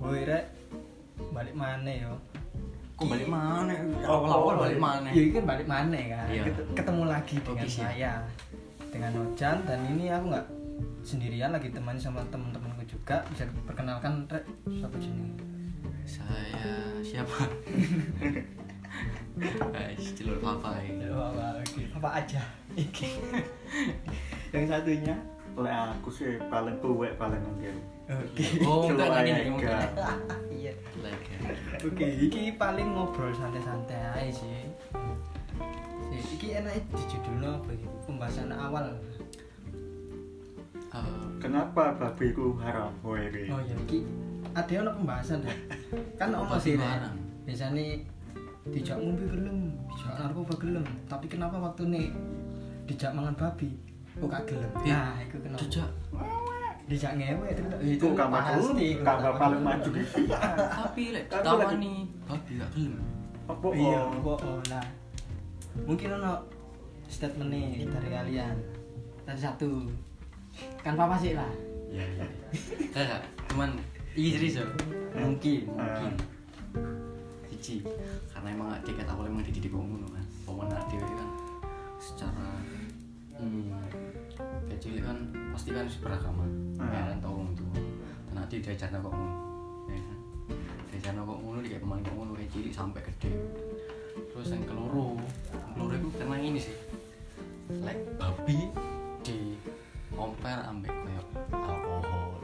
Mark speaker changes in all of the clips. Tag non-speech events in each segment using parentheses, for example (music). Speaker 1: Oh, maneh.
Speaker 2: ya ini Oh, kan balik mana kan
Speaker 1: Iya.
Speaker 2: Ket- ketemu lagi dengan
Speaker 1: Obis ya.
Speaker 2: saya dengan Ojan dan ini aku nggak sendirian lagi temani sama teman-temanku juga bisa perkenalkan Rek, siapa jeneng
Speaker 1: Saya (laughs) siapa? Eh, Guys, celur papai.
Speaker 2: apa aja (laughs)
Speaker 3: yang satunya oleh aku sih paling buwek paling enggak
Speaker 2: oke
Speaker 1: Oh, enggak
Speaker 3: Celur
Speaker 1: tadi
Speaker 3: aja,
Speaker 1: ngomong
Speaker 3: enggak.
Speaker 1: enggak.
Speaker 2: (laughs) iya
Speaker 1: Like.
Speaker 2: oke iki paling ngobrol santai-santai aja sih sih iki enak di judulnya apa gitu pembahasan awal
Speaker 1: eh,
Speaker 3: kenapa babiku haram iya, Woy, woy.
Speaker 2: oh ya iki ada ono pembahasan ya kan ono sih
Speaker 1: Pembahasan
Speaker 2: Rek.
Speaker 1: barang.
Speaker 2: biasanya dijak ngombe gelem dijak narkoba gelem tapi kenapa waktu nih dijak mangan babi kok gak gelem
Speaker 1: Eh,
Speaker 2: nah itu kenapa
Speaker 1: Cucak,
Speaker 2: dijak ngewe iya. itu
Speaker 3: itu kamar dulu
Speaker 2: iku
Speaker 3: kamar
Speaker 2: pasti.
Speaker 3: paling maju gitu
Speaker 1: tapi lek
Speaker 3: Kan
Speaker 1: tawa
Speaker 3: lagi-
Speaker 1: nih babi gak gelem.
Speaker 3: apa
Speaker 2: iya
Speaker 3: oh?
Speaker 2: kok oh, nah mungkin ono statement nih dari kalian tadi satu kan apa sih lah
Speaker 3: Iya, iya.
Speaker 1: Enggak, cuman iya serius ya. Mungkin,
Speaker 3: Eh.
Speaker 1: mungkin. Siji, karena emang gak tiket awal emang dididik wong ngono kan. Pemenang dhewe kan secara hmm, kecil kan pasti kan beragama.
Speaker 3: Eh.
Speaker 1: Ya kan tau wong tuwa. Nah, dia diajarno kok ngono. Ya kan. Diajarno kok ngono dikek pemain kok ngono kayak cilik sampai gede. Terus yang keloro, yang keloro itu karena ini sih. Lek babi di compare ambek koyo alkohol,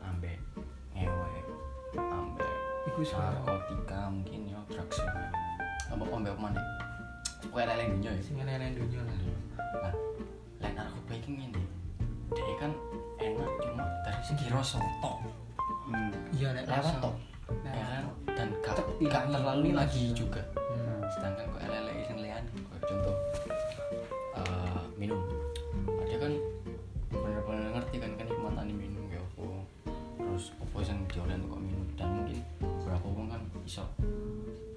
Speaker 1: ambek ngewek, ambek
Speaker 2: Iku sih.
Speaker 1: narkotika mungkin yo drugs yo. Apa ambek mana? Kowe leleng dunyo ya.
Speaker 2: sing lain dunia lah
Speaker 1: Nah, lek narkoba iki ngene. Dia kan enak cuma dari segi rasa tok.
Speaker 3: Hmm.
Speaker 2: iya lek
Speaker 1: Lewat
Speaker 2: rasa.
Speaker 1: tok.
Speaker 2: Lek
Speaker 1: Ya kan?
Speaker 2: rasa.
Speaker 1: Dan gak,
Speaker 2: Tapi
Speaker 1: gak
Speaker 2: ini
Speaker 1: terlalu
Speaker 2: rasa.
Speaker 1: lagi juga.
Speaker 2: Hmm.
Speaker 1: sedangkan kok lele sing liyane kayak contoh eh, minum ada kan bener-bener ngerti kan kenikmatan minum kayak apa terus apa yang diolah kok minum dan mungkin berapa orang kan iso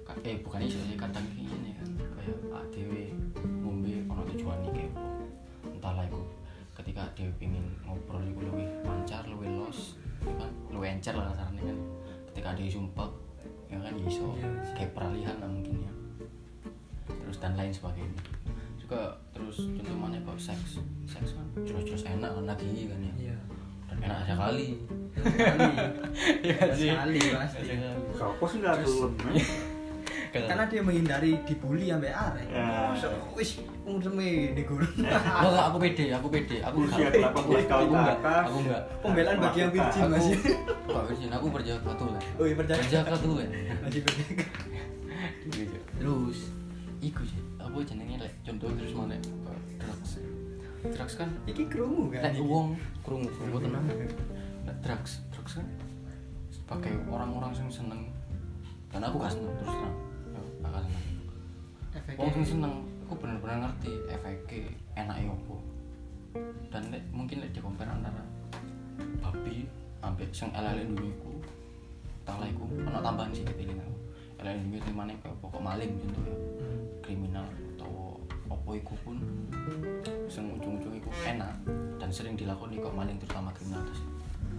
Speaker 1: Ka- eh bukan iso sih kadang kayak gini kan kayak ADW ngombe ono tujuan nih kayak apa entahlah itu ketika dia pingin ngobrol itu lebih lancar lebih los ya kan lebih encer lah sarannya kan ketika dia sumpah ya kan ya iso
Speaker 2: Iya, iso.
Speaker 1: kayak peralihan lah mungkin ya terus dan lain sebagainya juga terus contoh mana kok seks seks kan jelas-jelas enak kan lagi kan ya
Speaker 2: iya
Speaker 1: dan enak sekali
Speaker 2: Iya
Speaker 1: Iya sih.
Speaker 2: sekali pasti.
Speaker 1: Iya.
Speaker 3: Sopo sih nggak gelem eh?
Speaker 2: Karena dia menghindari dibully sampai arek.
Speaker 3: Ya.
Speaker 2: Mosok, Wis ngurme di gurun.
Speaker 1: Wah, enggak, aku pede, aku pede, aku
Speaker 3: Usia
Speaker 1: enggak.
Speaker 3: 18 tahun
Speaker 1: aku
Speaker 3: ke
Speaker 1: enggak,
Speaker 3: atas.
Speaker 1: aku enggak.
Speaker 2: Pembelaan bagi yang
Speaker 3: Melakukan.
Speaker 2: virgin Mas.
Speaker 1: Aku enggak virgin, aku percaya katulan.
Speaker 2: Oh, iya, percaya.
Speaker 1: Percaya katulan.
Speaker 2: Masih berdeka.
Speaker 1: Gitu. Terus iku sih, apa jenenge lek contoh terus mana? eh, Drugs. Drugs kan
Speaker 2: Iki krungu kan.
Speaker 1: lek
Speaker 2: iki?
Speaker 1: wong krungu krungu tenang. Lek drugs, drugs kan sebagai orang-orang yang seneng dan aku gak seneng terus terang. Ya, Gak seneng.
Speaker 2: Efeknya-
Speaker 1: Wong sing seneng, aku bener-bener ngerti efeknya enak ya apa. Dan nek mungkin nek dikompar antara babi ambek sing elele dunyoku. Talah iku ana tambahan sih kepiling aku. Elele dunyo sing maneh kaya apa kok maling contohnya
Speaker 2: Hmm.
Speaker 1: kriminal atau apa iku pun sing ujung-ujung iku enak dan sering dilakoni kok maling terutama kriminal terus.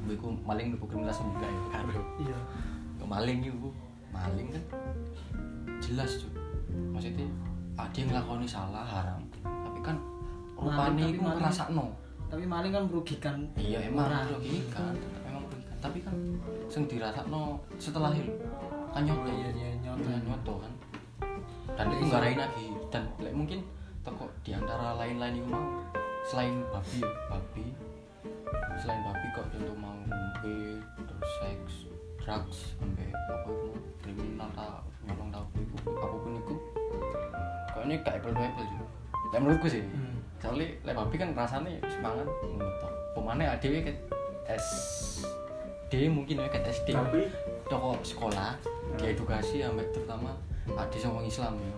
Speaker 1: Mbak Iku maling iku kriminal sembuka ya karo
Speaker 2: Iya.
Speaker 1: Ya, maling iku maling kan jelas cuy maksudnya ah, dia ngelakoni salah haram tapi kan
Speaker 2: Maling,
Speaker 1: rupanya
Speaker 2: tapi
Speaker 1: iku
Speaker 2: maling.
Speaker 1: ngerasa
Speaker 2: Tapi maling kan merugikan.
Speaker 1: iya emang
Speaker 2: orang.
Speaker 1: merugikan tetep emang merugikan tapi kan sing dirasa setelah itu kan nyoto
Speaker 2: Oh, iya, iya, nyoto. Iya,
Speaker 1: Iya, nyoto kan dan
Speaker 2: Lek
Speaker 1: itu
Speaker 2: iso-
Speaker 1: nggak rain lagi dan lek mungkin toko diantara lain-lain itu mau selain babi ya, babi selain babi kok contoh mau ngombe terus seks drugs sampai apa itu mau, kriminal tak nyolong tak apa itu apapun itu kok ini kayak apple to apple juga Lek menurutku sih
Speaker 2: Hmm.
Speaker 1: soalnya lek babi kan rasanya semangat ngono pemane adewe ket SD mungkin ya ket SD
Speaker 3: tapi
Speaker 1: toko sekolah
Speaker 2: Hmm.
Speaker 1: diedukasi ambek terutama adik sama wong Islam ya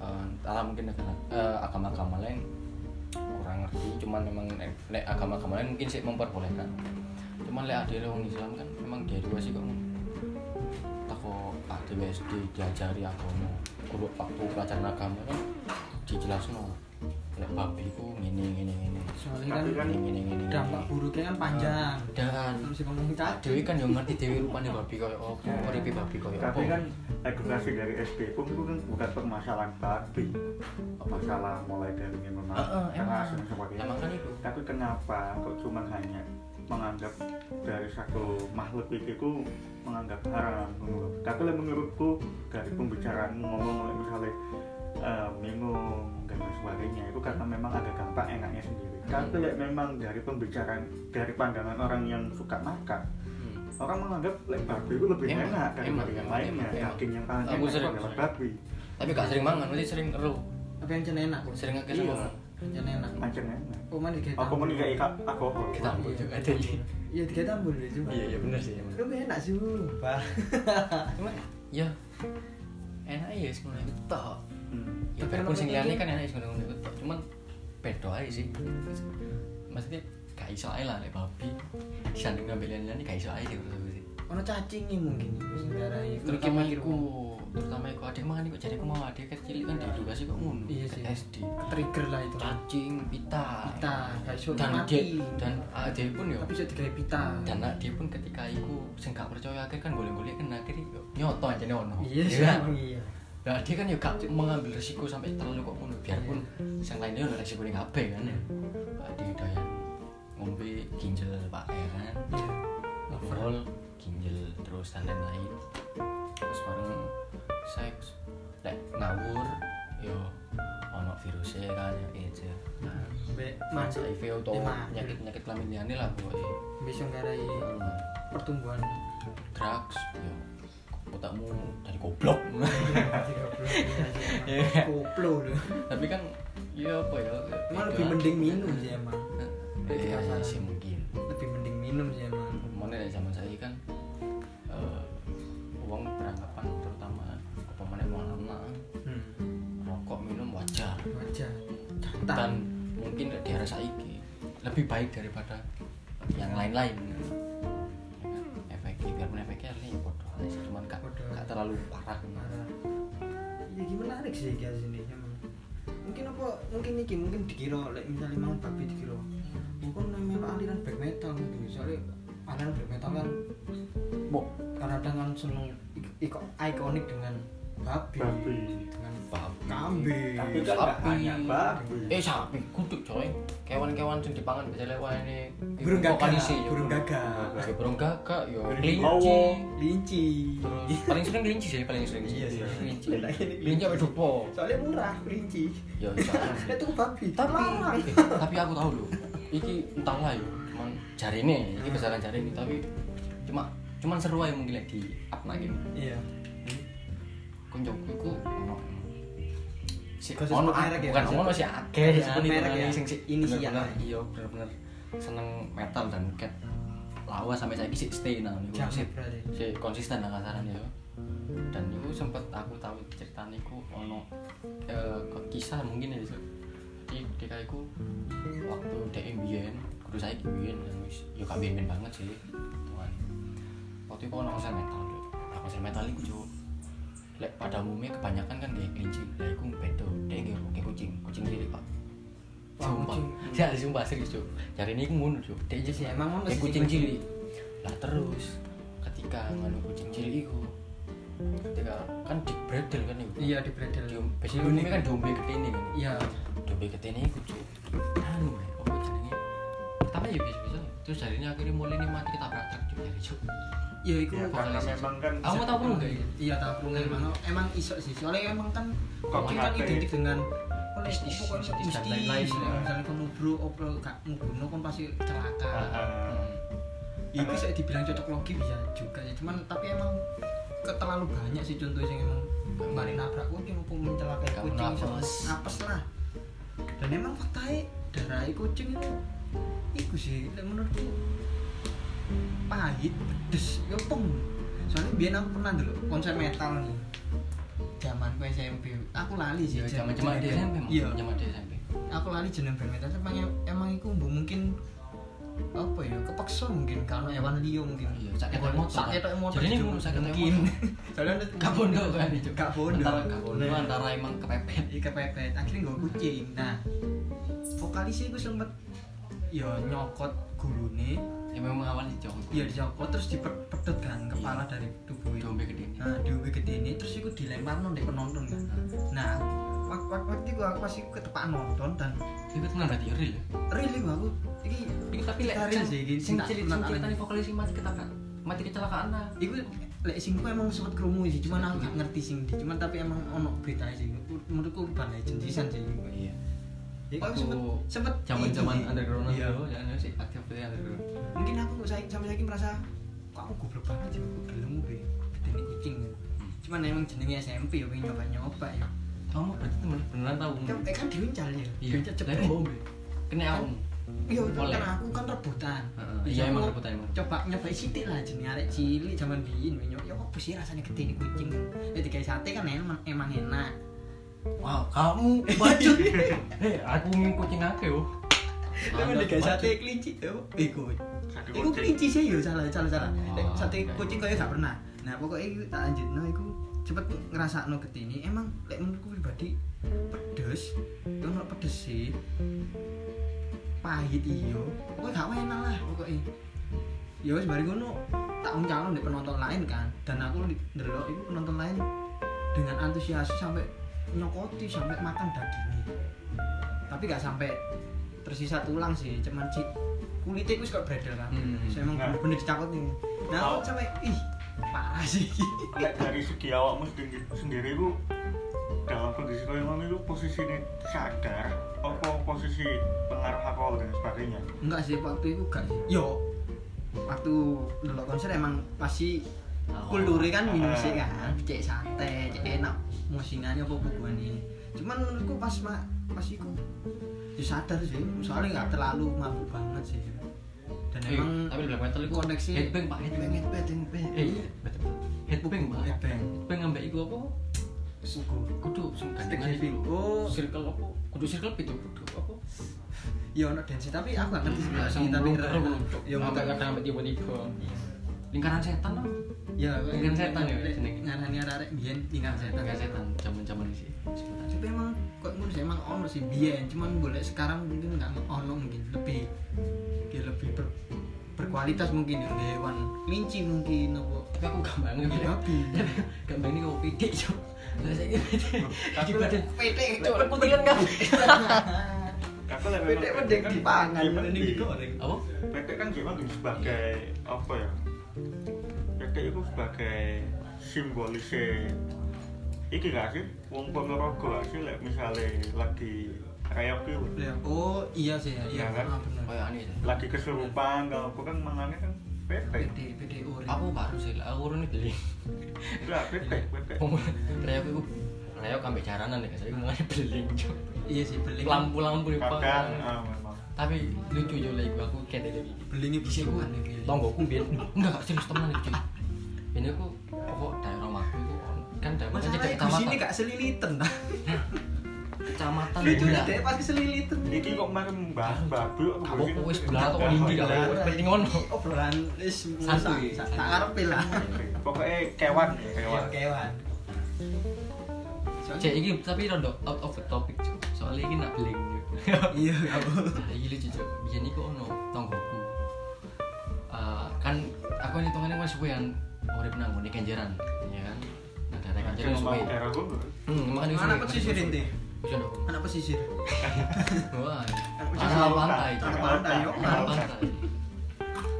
Speaker 1: Eh, entahlah mungkin negara eh, agama-agama lain kurang ngerti cuman memang nek nek agama-agama lain mungkin sih memperbolehkan cuman lek adik wong Islam kan memang diedukasi kok toko adik SD diajari agama guru waktu pelajaran agama kan dijelasno lek babi ku ngene ngene ngene
Speaker 2: Soal soalnya
Speaker 3: Tapi
Speaker 2: kan Hmm.
Speaker 3: kan
Speaker 1: Ini ini ini.
Speaker 2: dampak buruknya kan panjang
Speaker 1: Dan
Speaker 2: terus si ngomong cacing
Speaker 1: Pak Dewi kan yang ngerti Dewi rupanya babi koyo opo, uripe babi koyo opo.
Speaker 3: tapi kan edukasi dari SD pun itu kan bukan permasalahan babi masalah mulai dari minuman
Speaker 1: Heeh,
Speaker 3: keras
Speaker 1: emang.
Speaker 3: dan sebagainya
Speaker 1: Nah, makan itu.
Speaker 3: tapi kenapa kok cuma hanya menganggap dari satu makhluk itu ku menganggap haram menurut- tapi lah menurutku dari pembicaraanmu ngomong mulai misalnya eh, minum dan lain sebagainya itu karena memang ada dampak enaknya sendiri tapi lah memang dari pembicaraan dari pandangan orang yang suka makan
Speaker 1: Hmm.
Speaker 3: orang menganggap lek babi itu lebih
Speaker 1: Emang,
Speaker 3: enak daripada
Speaker 1: emang,
Speaker 3: yang
Speaker 1: emang,
Speaker 3: lainnya
Speaker 1: emang, emang.
Speaker 3: daging yang paling
Speaker 1: Aku
Speaker 3: enak
Speaker 1: sering-
Speaker 3: adalah
Speaker 1: sering.
Speaker 3: babi
Speaker 1: Tapi gak sering mangan, mesti sering ero.
Speaker 2: tapi yang cene enak
Speaker 1: Sering akeh
Speaker 3: Iya.
Speaker 1: sama.
Speaker 2: yang enak
Speaker 3: macam enak
Speaker 2: aku mah digawe
Speaker 3: aku
Speaker 2: tambur.
Speaker 3: mau nikahi alkohol
Speaker 1: Kita ambil juga Dewi.
Speaker 2: iya digawe tambur ya cuma
Speaker 1: Iya, iya bener sih. emang.
Speaker 2: lu enak sih bah
Speaker 1: Cuma ya enak ya sekolah itu tok.
Speaker 3: Hmm.
Speaker 1: Ya
Speaker 2: Tapi
Speaker 1: biarpun
Speaker 2: kalau
Speaker 1: sing
Speaker 2: menurut
Speaker 1: liyane
Speaker 2: aku-
Speaker 1: kan enak sekolah itu tok. Cuman beda aja sih. Maksudnya gak iso ae lah lek babi. Disanding ngambil liyane gak iso ae sih menurut aku sih.
Speaker 2: ono cacingnya mungkin
Speaker 1: Hmm.
Speaker 2: sebenarnya
Speaker 1: terutama iku
Speaker 2: "Oh,
Speaker 1: terutama iku adik mangan iku jadi aku mau adik kecil kan diedukasi kok ngono
Speaker 2: Iya sih.
Speaker 1: SD
Speaker 2: trigger lah itu
Speaker 1: cacing pita
Speaker 2: pita gak iso
Speaker 1: dan
Speaker 2: mati.
Speaker 1: dia dan adik pun yo
Speaker 2: tapi bisa digawe pita
Speaker 1: dan nak dia pun ketika iku sing gak percaya akhir kan boleh-boleh kan akhir yo nyoto aja ono
Speaker 2: iya
Speaker 1: Ya
Speaker 2: sih
Speaker 1: kan?
Speaker 2: iya
Speaker 1: nah dia kan yo gak mengambil resiko sampai terlalu kok ngono biarpun sing lainnya ono resiko ning kabeh kan ya adik doyan ngombe ginjel pak ya kan
Speaker 2: Iya.
Speaker 1: alkohol ginjal terus dan lain-lain terus bareng seks lek ngawur yo ono virusnya kan ya AIDS ya. nah,
Speaker 2: Be-
Speaker 1: AIDS
Speaker 2: masuk
Speaker 1: HIV atau
Speaker 2: Emang.
Speaker 1: penyakit penyakit kelamin liane lah
Speaker 2: Iya.
Speaker 1: pokoknya
Speaker 2: bisa nggarai
Speaker 1: Hmm, (laughs)
Speaker 2: pertumbuhan
Speaker 1: drugs yo otakmu dari
Speaker 2: (laughs)
Speaker 1: goblok Iya.
Speaker 2: koplo lu
Speaker 1: tapi kan ya apa ya
Speaker 2: emang
Speaker 1: itu
Speaker 2: lebih
Speaker 1: lah.
Speaker 2: mending minum sih emang
Speaker 1: eh,
Speaker 2: Lebih kasar.
Speaker 1: sih mungkin
Speaker 2: lebih mending minum sih emang
Speaker 1: mana dari zaman saya kan eh, uang perangkapan terutama apa mana uang lama
Speaker 2: hmm.
Speaker 1: rokok minum wajar
Speaker 2: wajar
Speaker 1: dan
Speaker 2: catatan
Speaker 1: mungkin di daerah saiki lebih baik daripada yang lain-lain efeknya biarpun efeknya ini ya bodoh aja sih, cuman gak,
Speaker 2: Bodoh.
Speaker 1: gak terlalu parah
Speaker 2: parah ya gimana menarik sih guys ini emang mungkin apa mungkin iki mungkin dikira like misalnya mau tapi dikira mungkin namanya aliran black metal gitu soalnya aliran black metal kan
Speaker 1: Bo,
Speaker 2: kadang kan seneng ik- iko- ikonik dengan babi,
Speaker 3: Babi.
Speaker 2: dengan
Speaker 1: babi.
Speaker 2: Nah, kambing
Speaker 3: tapi kan nggak
Speaker 1: Sapi.
Speaker 3: hanya babi
Speaker 1: eh sapi kuduk coy kewan-kewan yang dipangan bisa lewat ini
Speaker 2: burung
Speaker 1: Kok
Speaker 2: gagak
Speaker 1: kanisi, ya,
Speaker 2: burung gagak
Speaker 1: Ya, burung gagak ya
Speaker 3: Burung
Speaker 1: kelinci
Speaker 3: bawang.
Speaker 2: linci
Speaker 1: terus paling sering kelinci sih paling sering
Speaker 2: Iya sih.
Speaker 1: kelinci
Speaker 2: Enak ini
Speaker 1: kelinci apa dupo
Speaker 2: soalnya murah linci
Speaker 1: ya bisa
Speaker 2: itu babi
Speaker 1: tapi
Speaker 2: larang.
Speaker 1: eh, tapi aku tahu loh iki entahlah yo cuman jari ini iki besaran jari ini tapi cuma cuman seru aja mungkin like, di up lagi
Speaker 2: iya
Speaker 1: kunjungku iku ono si
Speaker 2: Khusus
Speaker 1: ono
Speaker 2: merek
Speaker 1: aku-
Speaker 2: ya,
Speaker 1: bukan
Speaker 2: khusus-
Speaker 1: ono si akeh
Speaker 2: khusus
Speaker 1: kan, itu
Speaker 2: merek
Speaker 1: kan,
Speaker 2: ya,
Speaker 1: sing si
Speaker 2: inisial.
Speaker 1: bener-bener, iya bener-bener seneng metal dan cat lawa sampai saiki sik stay nah niku
Speaker 2: Jangan
Speaker 1: sik
Speaker 2: berarti.
Speaker 1: sik konsisten lah kasarannya yo dan niku sempet aku tahu cerita niku ono eh, ke- kisah mungkin ya sih jadi ketika iku waktu DM biyen kudu saiki biyen dan kan, wis yo gak biyen banget sih tuan waktu itu ono konser metal Dok. nah konser metal iku cuk lek pada umumnya kebanyakan kan kayak kelinci lah iku bedo dek nggih kayak kucing kucing cilik pak
Speaker 2: Wah,
Speaker 1: sumpah
Speaker 2: kucing.
Speaker 1: sih ada sumpah serius cuk cari ini iku ngono cuk dek
Speaker 2: Iya sih, emang ngono
Speaker 1: kayak
Speaker 2: sih,
Speaker 1: kucing
Speaker 2: kucing.
Speaker 1: cilik lah terus ketika nganu kucing cilik iku ketika kan di bredel kan iku
Speaker 2: iya di bredel
Speaker 1: Diom- biasanya umumnya kan dombe ketene kan
Speaker 2: iya
Speaker 1: dombe ketene iku cuk anu ya apa jenenge pertama ya biasa-biasa terus dari ini akhirnya mulai nih mati kita praktek cuk dari cuk
Speaker 2: iya itu
Speaker 3: ya, karena memang kan
Speaker 1: Aku mau tahu perlu nggak Hmm. ya?
Speaker 2: iya tahu perlu nggak emang emang iso sih soalnya emang kan
Speaker 3: Kok
Speaker 2: kucing kan
Speaker 3: mengapa ya?
Speaker 2: identik dengan
Speaker 1: Mistis,
Speaker 2: mistis
Speaker 1: mistis dan
Speaker 2: mistis dan
Speaker 1: lain-lain.
Speaker 2: lain-lain misalnya kamu bro opo kak ngubuno kan pasti celaka
Speaker 3: Ah,
Speaker 2: Ya, itu saya dibilang cocok logi bisa juga sih cuman tapi emang ke- terlalu banyak sih contoh yang emang kemarin nabrak kucing maupun mencelakai
Speaker 1: Kamu
Speaker 2: kucing
Speaker 1: nafas.
Speaker 2: sama apes lah dan emang faktanya darah kucing itu itu sih lek menurutku pahit pedes ya peng soalnya biar aku pernah dulu konser metal nih zaman aku SMP aku lali sih
Speaker 1: ya
Speaker 2: jeneng-
Speaker 1: zaman zaman di
Speaker 2: jeneng
Speaker 1: SMP
Speaker 2: band.
Speaker 1: Mas.
Speaker 2: iya
Speaker 1: zaman di SMP
Speaker 2: aku lali jeneng band metal emang
Speaker 1: Hmm.
Speaker 2: emang iku mbok mungkin apa ya kepaksa mungkin karena hewan liya mungkin
Speaker 1: Iya, sak ketok motor,
Speaker 2: sak
Speaker 1: kan?
Speaker 2: ketok motor
Speaker 1: Jadi ini
Speaker 2: juga
Speaker 1: mung sak ketok
Speaker 2: mungkin. (laughs) soalnya
Speaker 1: Gak bondo kan itu?
Speaker 2: gak bondo
Speaker 1: Antara gak bondo, Nah. antara emang kepepet.
Speaker 2: iya kepepet akhirnya gue kucing nah vokalisnya gue sempet ya nyokot gulune
Speaker 1: ya memang awal dicokot
Speaker 2: ya dicokot terus dipedot kan kepala
Speaker 1: Iya.
Speaker 2: dari tubuh itu
Speaker 1: dombe gede
Speaker 2: nah diombe gede ini terus iku dilempar nang penonton kan nah wak- wak- waktu itu aku masih ketepak nonton dan
Speaker 1: itu tenan berarti real ya
Speaker 2: really aku iki
Speaker 1: Iku Iya, tapi lek
Speaker 2: Cari
Speaker 1: sing
Speaker 2: sih, gini.
Speaker 1: sing
Speaker 2: Tak-
Speaker 1: cilik
Speaker 2: tak
Speaker 1: sing
Speaker 2: alami.
Speaker 1: ceritane vokalis sing mati kecelakaan mati kecelakaan lah.
Speaker 2: Iku ya. lek singku emang sempat kerumuh sih, cuman aku gak ngerti sing di, cuman tapi emang ono beritanya sih. Menurutku ban legend sisan sih.
Speaker 1: Iya.
Speaker 2: Ya aku
Speaker 1: Waktu
Speaker 2: sempet sempet
Speaker 1: Zaman-zaman
Speaker 2: iki sih.
Speaker 1: underground
Speaker 2: Iya.
Speaker 1: dulu, ya ya, sih aktif dari underground.
Speaker 2: Mungkin aku saya sampai lagi merasa kok aku goblok banget sih, aku gelem be bedene kucing. Cuman emang jenenge SMP ya pengen nyoba-nyoba ya.
Speaker 1: Kamu berarti temen beneran tahu.
Speaker 2: Kan eh kan diuncal ya.
Speaker 1: Iya.
Speaker 2: Diuncal cepet.
Speaker 1: Tapi bohong, Be. Kena aku.
Speaker 2: Iya, itu
Speaker 1: Boleh.
Speaker 2: kan aku kan rebutan.
Speaker 1: Heeh,
Speaker 2: Terus
Speaker 1: Iya
Speaker 2: aku
Speaker 1: emang rebutan emang.
Speaker 2: Coba nyobain sithik lah jenenge arek cilik jaman biyen nyok. Ya apa sih rasanya gede nih kucing. Ya digawe sate kan emang emang enak.
Speaker 1: Wow, kamu (laughs) bajut. Hei, Eh, aku minum kucing akeh oh. yo.
Speaker 2: Tapi
Speaker 1: Anda
Speaker 2: nek gawe sate
Speaker 1: bajut.
Speaker 2: kelinci tuh, iku.
Speaker 3: Sate
Speaker 2: Iku
Speaker 3: kucing.
Speaker 2: kelinci sih yo salah salah salah. Nek
Speaker 1: Ah,
Speaker 2: sate
Speaker 1: iya.
Speaker 2: kucing kaya gak pernah. Nah, pokoknya iku tak lanjutno iku cepet ngrasakno ketini. Emang lek menurutku pribadi pedes, yo ono pedes sih. Pahit iyo. Pokoknya gak enak lah pokoknya. Ya wis bari ngono tak uncalon di penonton lain kan. Dan aku li- ndelok iku penonton lain dengan antusias sampai nyokoti sampai makan dagingnya tapi gak sampai tersisa tulang sih cuman si kulitnya gue suka bredel kan
Speaker 1: Hmm.
Speaker 2: saya emang
Speaker 3: Nah.
Speaker 2: bener dicakot nih nah aku
Speaker 3: Tau.
Speaker 2: sampai ih parah sih (laughs)
Speaker 3: Lek dari segi awakmu sendiri, sendiri ku dalam kondisi kau yang itu posisi ini sadar apa posisi pengaruh alkohol dan sebagainya
Speaker 2: enggak sih waktu itu gak sih yo waktu dulu konser emang pasti
Speaker 1: Oh.
Speaker 2: kulturnya kan minum
Speaker 3: Ah.
Speaker 2: sih kan cek santai cek enak musingannya apa bukuannya cuman menurutku pas ma- pas iku ya sadar sih soalnya nggak terlalu mabuk banget sih dan
Speaker 1: Eh,
Speaker 2: emang
Speaker 1: tapi black metal itu
Speaker 2: koneksi
Speaker 1: headbang pak headbang headbang headbang eh iya betul headbang pak
Speaker 2: Headbang.
Speaker 1: headbang ngambek iku apa
Speaker 2: suku
Speaker 1: kudu sing gandengan
Speaker 2: heavy.
Speaker 1: itu.
Speaker 2: Oh.
Speaker 1: circle apa kudu circle itu kudu apa
Speaker 2: Ya ono dance tapi aku gak ngerti sih
Speaker 1: Ya,
Speaker 2: sih, tapi
Speaker 1: belum
Speaker 2: rada-
Speaker 1: terbentuk.
Speaker 2: ya
Speaker 1: Sampai
Speaker 2: mungkin-
Speaker 1: kadang sampai tiba-tiba lingkaran setan lah
Speaker 2: ya
Speaker 1: Lingkaran setan ya, jenenge.
Speaker 2: ngarani arek biyen lingkaran setan.
Speaker 1: lingkaran setan zaman-zaman ini sih sebentar
Speaker 2: Tapi emang kok ngono sih emang ono sih biyen cuman boleh sekarang mungkin gak ono mungkin lebih ya lebih ber- berkualitas mungkin ya hewan kelinci mungkin apa
Speaker 1: tapi aku gampang
Speaker 2: Iya,
Speaker 1: (laughs)
Speaker 2: babi.
Speaker 1: gampang ini kau pitik yo Lah, saya ini pitik. di
Speaker 3: Tapi-
Speaker 1: badan
Speaker 2: Petek,
Speaker 1: Cuk, kutilan
Speaker 2: (laughs)
Speaker 1: kabeh.
Speaker 3: kakak lek
Speaker 2: Petek mending dipangan Iya, mending digoreng.
Speaker 1: apa
Speaker 3: PT kan cuma sebagai apa ya? PT itu sebagai simbolisnya iki gak sih? Wong Ponorogo gak sih lek misale lagi reyok ki
Speaker 2: Ya, Oh iya sih ya, iya
Speaker 3: Iya kan?
Speaker 2: ah, bener.
Speaker 1: kayak aneh ya.
Speaker 3: lagi kesurupan kalau aku kan mangane kan PT.
Speaker 2: Petek, petek ori.
Speaker 1: aku baru sih lah, aku ini beli
Speaker 3: Lah PT PT.
Speaker 1: Rayok itu Rayok sampai jaranan ya, saya mulai beli Cuk.
Speaker 2: Iya sih beling.
Speaker 1: Lampu-lampu di
Speaker 3: Kakak
Speaker 1: pangkalan.
Speaker 3: ah memang.
Speaker 1: Tapi lucu yo lek aku kene lagi.
Speaker 2: Belingi bisa
Speaker 1: Isiku
Speaker 2: kan iki.
Speaker 1: tonggoku biyen Iya, enggak gak serius temenan iki. Ini aku pokok daerah rumahku itu kan daerah macam
Speaker 2: Masalahnya di sini
Speaker 1: kecamatan.
Speaker 2: gak selilitan lah.
Speaker 1: Kecamatan
Speaker 2: Lucu
Speaker 1: ya.
Speaker 2: lah deh pas keselilitan.
Speaker 3: Iki kok mari mbah babi kok
Speaker 1: Apa
Speaker 3: bikin-
Speaker 1: kok wis belah atau lindi gak
Speaker 2: ya.
Speaker 3: Belah.
Speaker 1: apa penting ngono.
Speaker 2: Iki obrolan wis
Speaker 1: Santuy.
Speaker 2: sak- sak- tak arepe lah.
Speaker 3: Pokoknya kewan ya, kewan.
Speaker 2: Iya, kewan.
Speaker 1: Cek iki tapi rondo out of the topic Cuk. Soalnya iki nak beli.
Speaker 2: Iya, apa?
Speaker 1: Iki lucu Cuk. Biyen iku ono tonggoku. Eh, kan aku ini hitungannya masih suwe kan urip nang ngene Kenjeran, ya kan. Nah, daerah Kenjeran
Speaker 3: Ngomong
Speaker 1: suwe.
Speaker 3: daerah gua,
Speaker 1: Hmm, makanya
Speaker 2: Anak
Speaker 1: suwe.
Speaker 2: pesisir inti.
Speaker 1: Wis
Speaker 2: (laughs)
Speaker 1: ono.
Speaker 2: Anak pesisir.
Speaker 1: Wah,
Speaker 2: Wis
Speaker 1: tanah
Speaker 2: ono.
Speaker 1: pantai,
Speaker 2: Tanah
Speaker 1: Cuk.
Speaker 2: pantai, yo.
Speaker 1: Tanah pantai.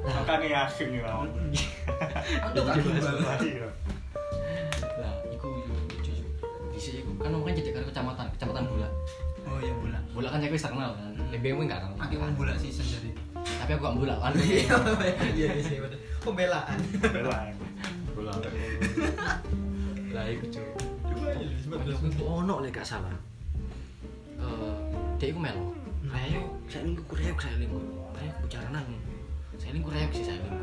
Speaker 3: makanya yasin ya.
Speaker 2: Iya, Aduh, gak gimana.
Speaker 3: Iya.
Speaker 1: Lah, iku yo lucu yo. Dhisik iku kan omongane jadi karo kecamatan, kecamatan bola.
Speaker 2: Oh iya bola.
Speaker 1: Bola kan saya wis terkenal kan. Lebih mungkin gak
Speaker 2: Aki
Speaker 1: kenal.
Speaker 2: wong bola season jadi.
Speaker 1: Tapi aku gak bola kan. (laughs)
Speaker 2: Iya, iya iya, sih. bener. Pembelaan.
Speaker 3: Belan.
Speaker 1: Bola. Lah iku cuy.
Speaker 2: Betul.
Speaker 1: Aku iku ono lek gak salah. Eh, dek iku melo. Ayo, saya lingku kurek, saya lingku. Ayo bicara nang. Saya lingku kurek sih saya lingku.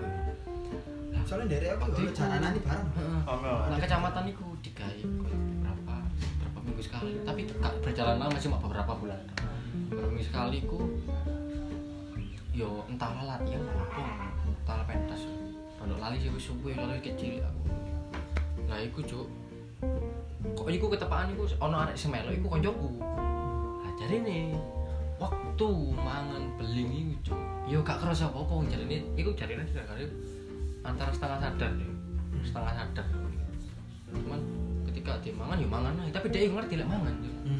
Speaker 2: Soalnya dari aku
Speaker 1: Di-
Speaker 2: kalau jalanan ini bareng.
Speaker 1: Heeh.
Speaker 3: Oh, enggak.
Speaker 1: Nah kecamatan itu digawe berapa berapa minggu sekali, tapi gak berjalan lama cuma beberapa bulan. Beberapa minggu sekali ku yo entahlah latihan apa, entahlah pentas. Kalau lali sih wis suwe, lali kecil aku. Lah iku cuk. Kok iku ketepaan iku ana arek sing melu iku koncoku. Lah jarene waktu mangan beling iku cuk. yo gak kerasa apa apa jarine iku jarine tidak kali antara setengah sadar deh setengah sadar cuman ketika dia mangan yo mangan aja tapi dia ngerti lek mangan yo.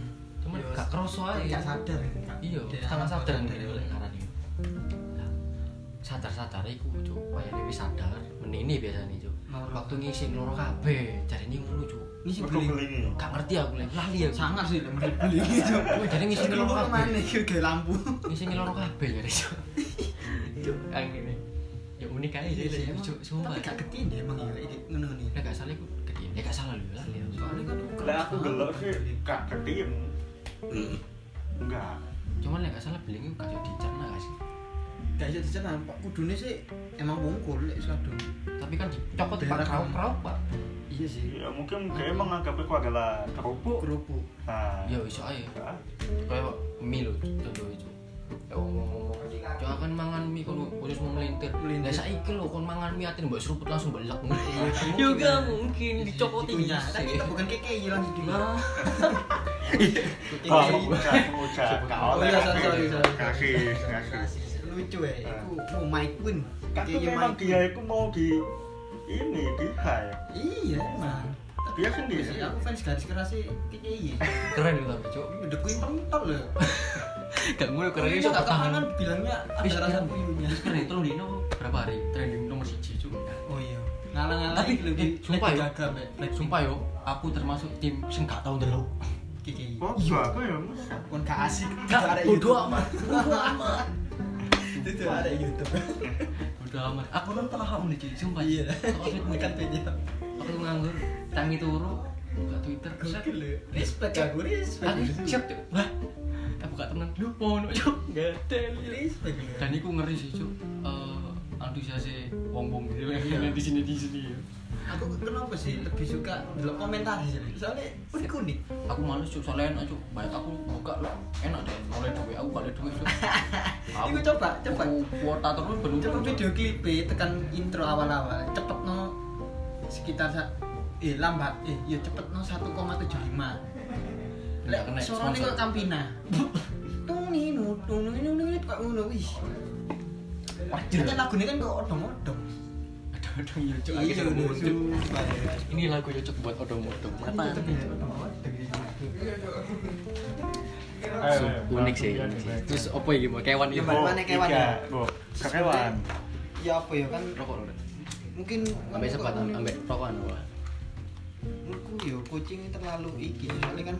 Speaker 1: cuman
Speaker 2: Yo,
Speaker 1: gak kerasa
Speaker 2: Gak
Speaker 1: aja
Speaker 2: sadar kan, Kak.
Speaker 1: iya
Speaker 2: Dia
Speaker 1: setengah sadar
Speaker 2: sadar,
Speaker 1: gitu lek ngarani sadar sadar iku coba ya lebih sadar menini biasanya nih
Speaker 2: Loro.
Speaker 1: waktu ngisi loro kabeh jarine ngono cuk
Speaker 2: Ini sih
Speaker 3: Mergo
Speaker 2: beli.
Speaker 3: kelingi.
Speaker 1: gak ngerti aku lek lali aku
Speaker 2: Sangar sih lek mesti beli gitu.
Speaker 1: Wih, jadi ngisi
Speaker 2: Lu
Speaker 1: loro kabeh
Speaker 2: kemana iki kayak lampu.
Speaker 1: ngisi loro kabeh jadi cuk cuk angin ya unik aja
Speaker 2: Iya
Speaker 1: sih
Speaker 2: sih, emang.
Speaker 1: cuk sumpah
Speaker 2: Tapi gak gede deh emang ya iki ngono nih.
Speaker 1: Lek gak salah iku gede Lek gak salah lho lali aku
Speaker 2: Soalnya kan
Speaker 3: Lah aku gelok sih gak ketim.
Speaker 2: Hmm.
Speaker 3: Enggak.
Speaker 1: cuman lek gak salah beling iku gak jadi dicerna gak sih
Speaker 2: gak iso dicerna, Pak. Kudune sih emang bungkul lek kadung.
Speaker 1: tapi kan dicokot pak
Speaker 2: Berak.
Speaker 1: kerau kerau pak
Speaker 2: Iya sih.
Speaker 3: Ya mungkin kayak menganggap aku adalah kerupuk.
Speaker 2: Kerupuk.
Speaker 3: Nah,
Speaker 2: Iya.
Speaker 1: ya iso aja
Speaker 3: enggak.
Speaker 1: kayak mie lho contoh itu ya ngomong-ngomong jangan kan mangan mie kalau khusus mau melintir
Speaker 2: Melintir.
Speaker 1: lah saiki lho kon mangan mie atin mbok seruput langsung (laughs) belek
Speaker 2: mungkin,
Speaker 1: ya gak
Speaker 2: kan.
Speaker 1: mungkin Nah, dicokotin
Speaker 2: Dikunyah. Tapi
Speaker 1: sih
Speaker 2: itu bukan keke iya langsung dikunyah.
Speaker 1: Nah,
Speaker 2: Keke.
Speaker 3: Oh, ucap, ucap.
Speaker 2: Oh iya, sorry, sorry, sorry.
Speaker 3: Kasih, kasih.
Speaker 2: Lucu ya, itu oh my queen.
Speaker 3: Tapi
Speaker 2: Keke
Speaker 3: memang
Speaker 2: my
Speaker 3: dia itu mau di ini di high.
Speaker 2: queen. Iya, emang. Tapi
Speaker 3: Dia
Speaker 2: aku
Speaker 3: sendiri.
Speaker 2: sih, Aku fans garis keras sih keke iya.
Speaker 1: keren lho tapi cuk
Speaker 2: The Queen pentol loh.
Speaker 1: gak ngono keren
Speaker 2: Ini
Speaker 1: iso
Speaker 2: nggak kemanan
Speaker 1: bertahan
Speaker 2: bilangnya
Speaker 1: Wis,
Speaker 2: ada rasa birunya.
Speaker 1: terus keren terus dino berapa hari trending nomor 1 cuk
Speaker 2: Oh iya. Ngalang-ngalang
Speaker 1: Tapi,
Speaker 2: iki lebih
Speaker 1: eh, sumpah
Speaker 2: lebih
Speaker 1: ya.
Speaker 2: gagah, Mbak.
Speaker 1: sumpah yo aku termasuk tim sing gak tau ndelok
Speaker 2: Kiki.
Speaker 3: Oh, iya, aku ya musa.
Speaker 2: Kon gak (laughs) asik.
Speaker 1: Gak, bodo amat.
Speaker 2: Bodoh amat. Itu ada YouTube.
Speaker 1: udah amat aku kan paham nih cuy sumpah
Speaker 2: Oh, (laughs) Iya.
Speaker 1: aku tweet
Speaker 2: Bukan
Speaker 1: mekan
Speaker 2: punya.
Speaker 1: aku tuh nganggur tangi turu buka twitter set
Speaker 2: Gokil lho. Respect aku, respect.
Speaker 1: aku siap cuy wah aku gak tenang lu mau no cuy gak teli
Speaker 2: Respect lho.
Speaker 1: dan iku ngeri sih cuy Eh, antusiasnya wong wong gitu yang di sini di sini ya
Speaker 2: Aku kenapa sih lebih suka delok komentar sih. Soalnya unik unik.
Speaker 1: aku males cuy soalnya enak cuy banyak aku buka lo enak deh mulai duit aku balik duit (laughs) cuy
Speaker 2: Iku coba, coba.
Speaker 1: aku kuota terus belum
Speaker 2: Coba video klip e, tekan intro awal-awal cepet no sekitar sa- eh lambat eh ya cepet no 1,75
Speaker 1: nggak kena
Speaker 2: Suaranya
Speaker 1: sponsor.
Speaker 2: kok Campina. (laughs) Tung nih nu tung nih nu nih kok ngono wis.
Speaker 1: Wajar.
Speaker 2: Kan lagune kan kok odong-odong.
Speaker 1: aduh aduh ya cuy Akhirnya ketemu, Cuk. ini lagu cocok buat odong-odong Apaan nih, Cuk?
Speaker 3: iya.
Speaker 1: unik sih unik sih terus apa ya mau kewan
Speaker 2: Ya,
Speaker 1: itu
Speaker 2: Mbak. Mana kewan
Speaker 3: iya.
Speaker 2: ya?
Speaker 3: Kewan.
Speaker 2: Ya apa ya kan
Speaker 1: rokok lho
Speaker 2: mungkin
Speaker 1: ambek sebat ambek rokokan apa
Speaker 2: Menurutku yo kucing ini terlalu iki soalnya kan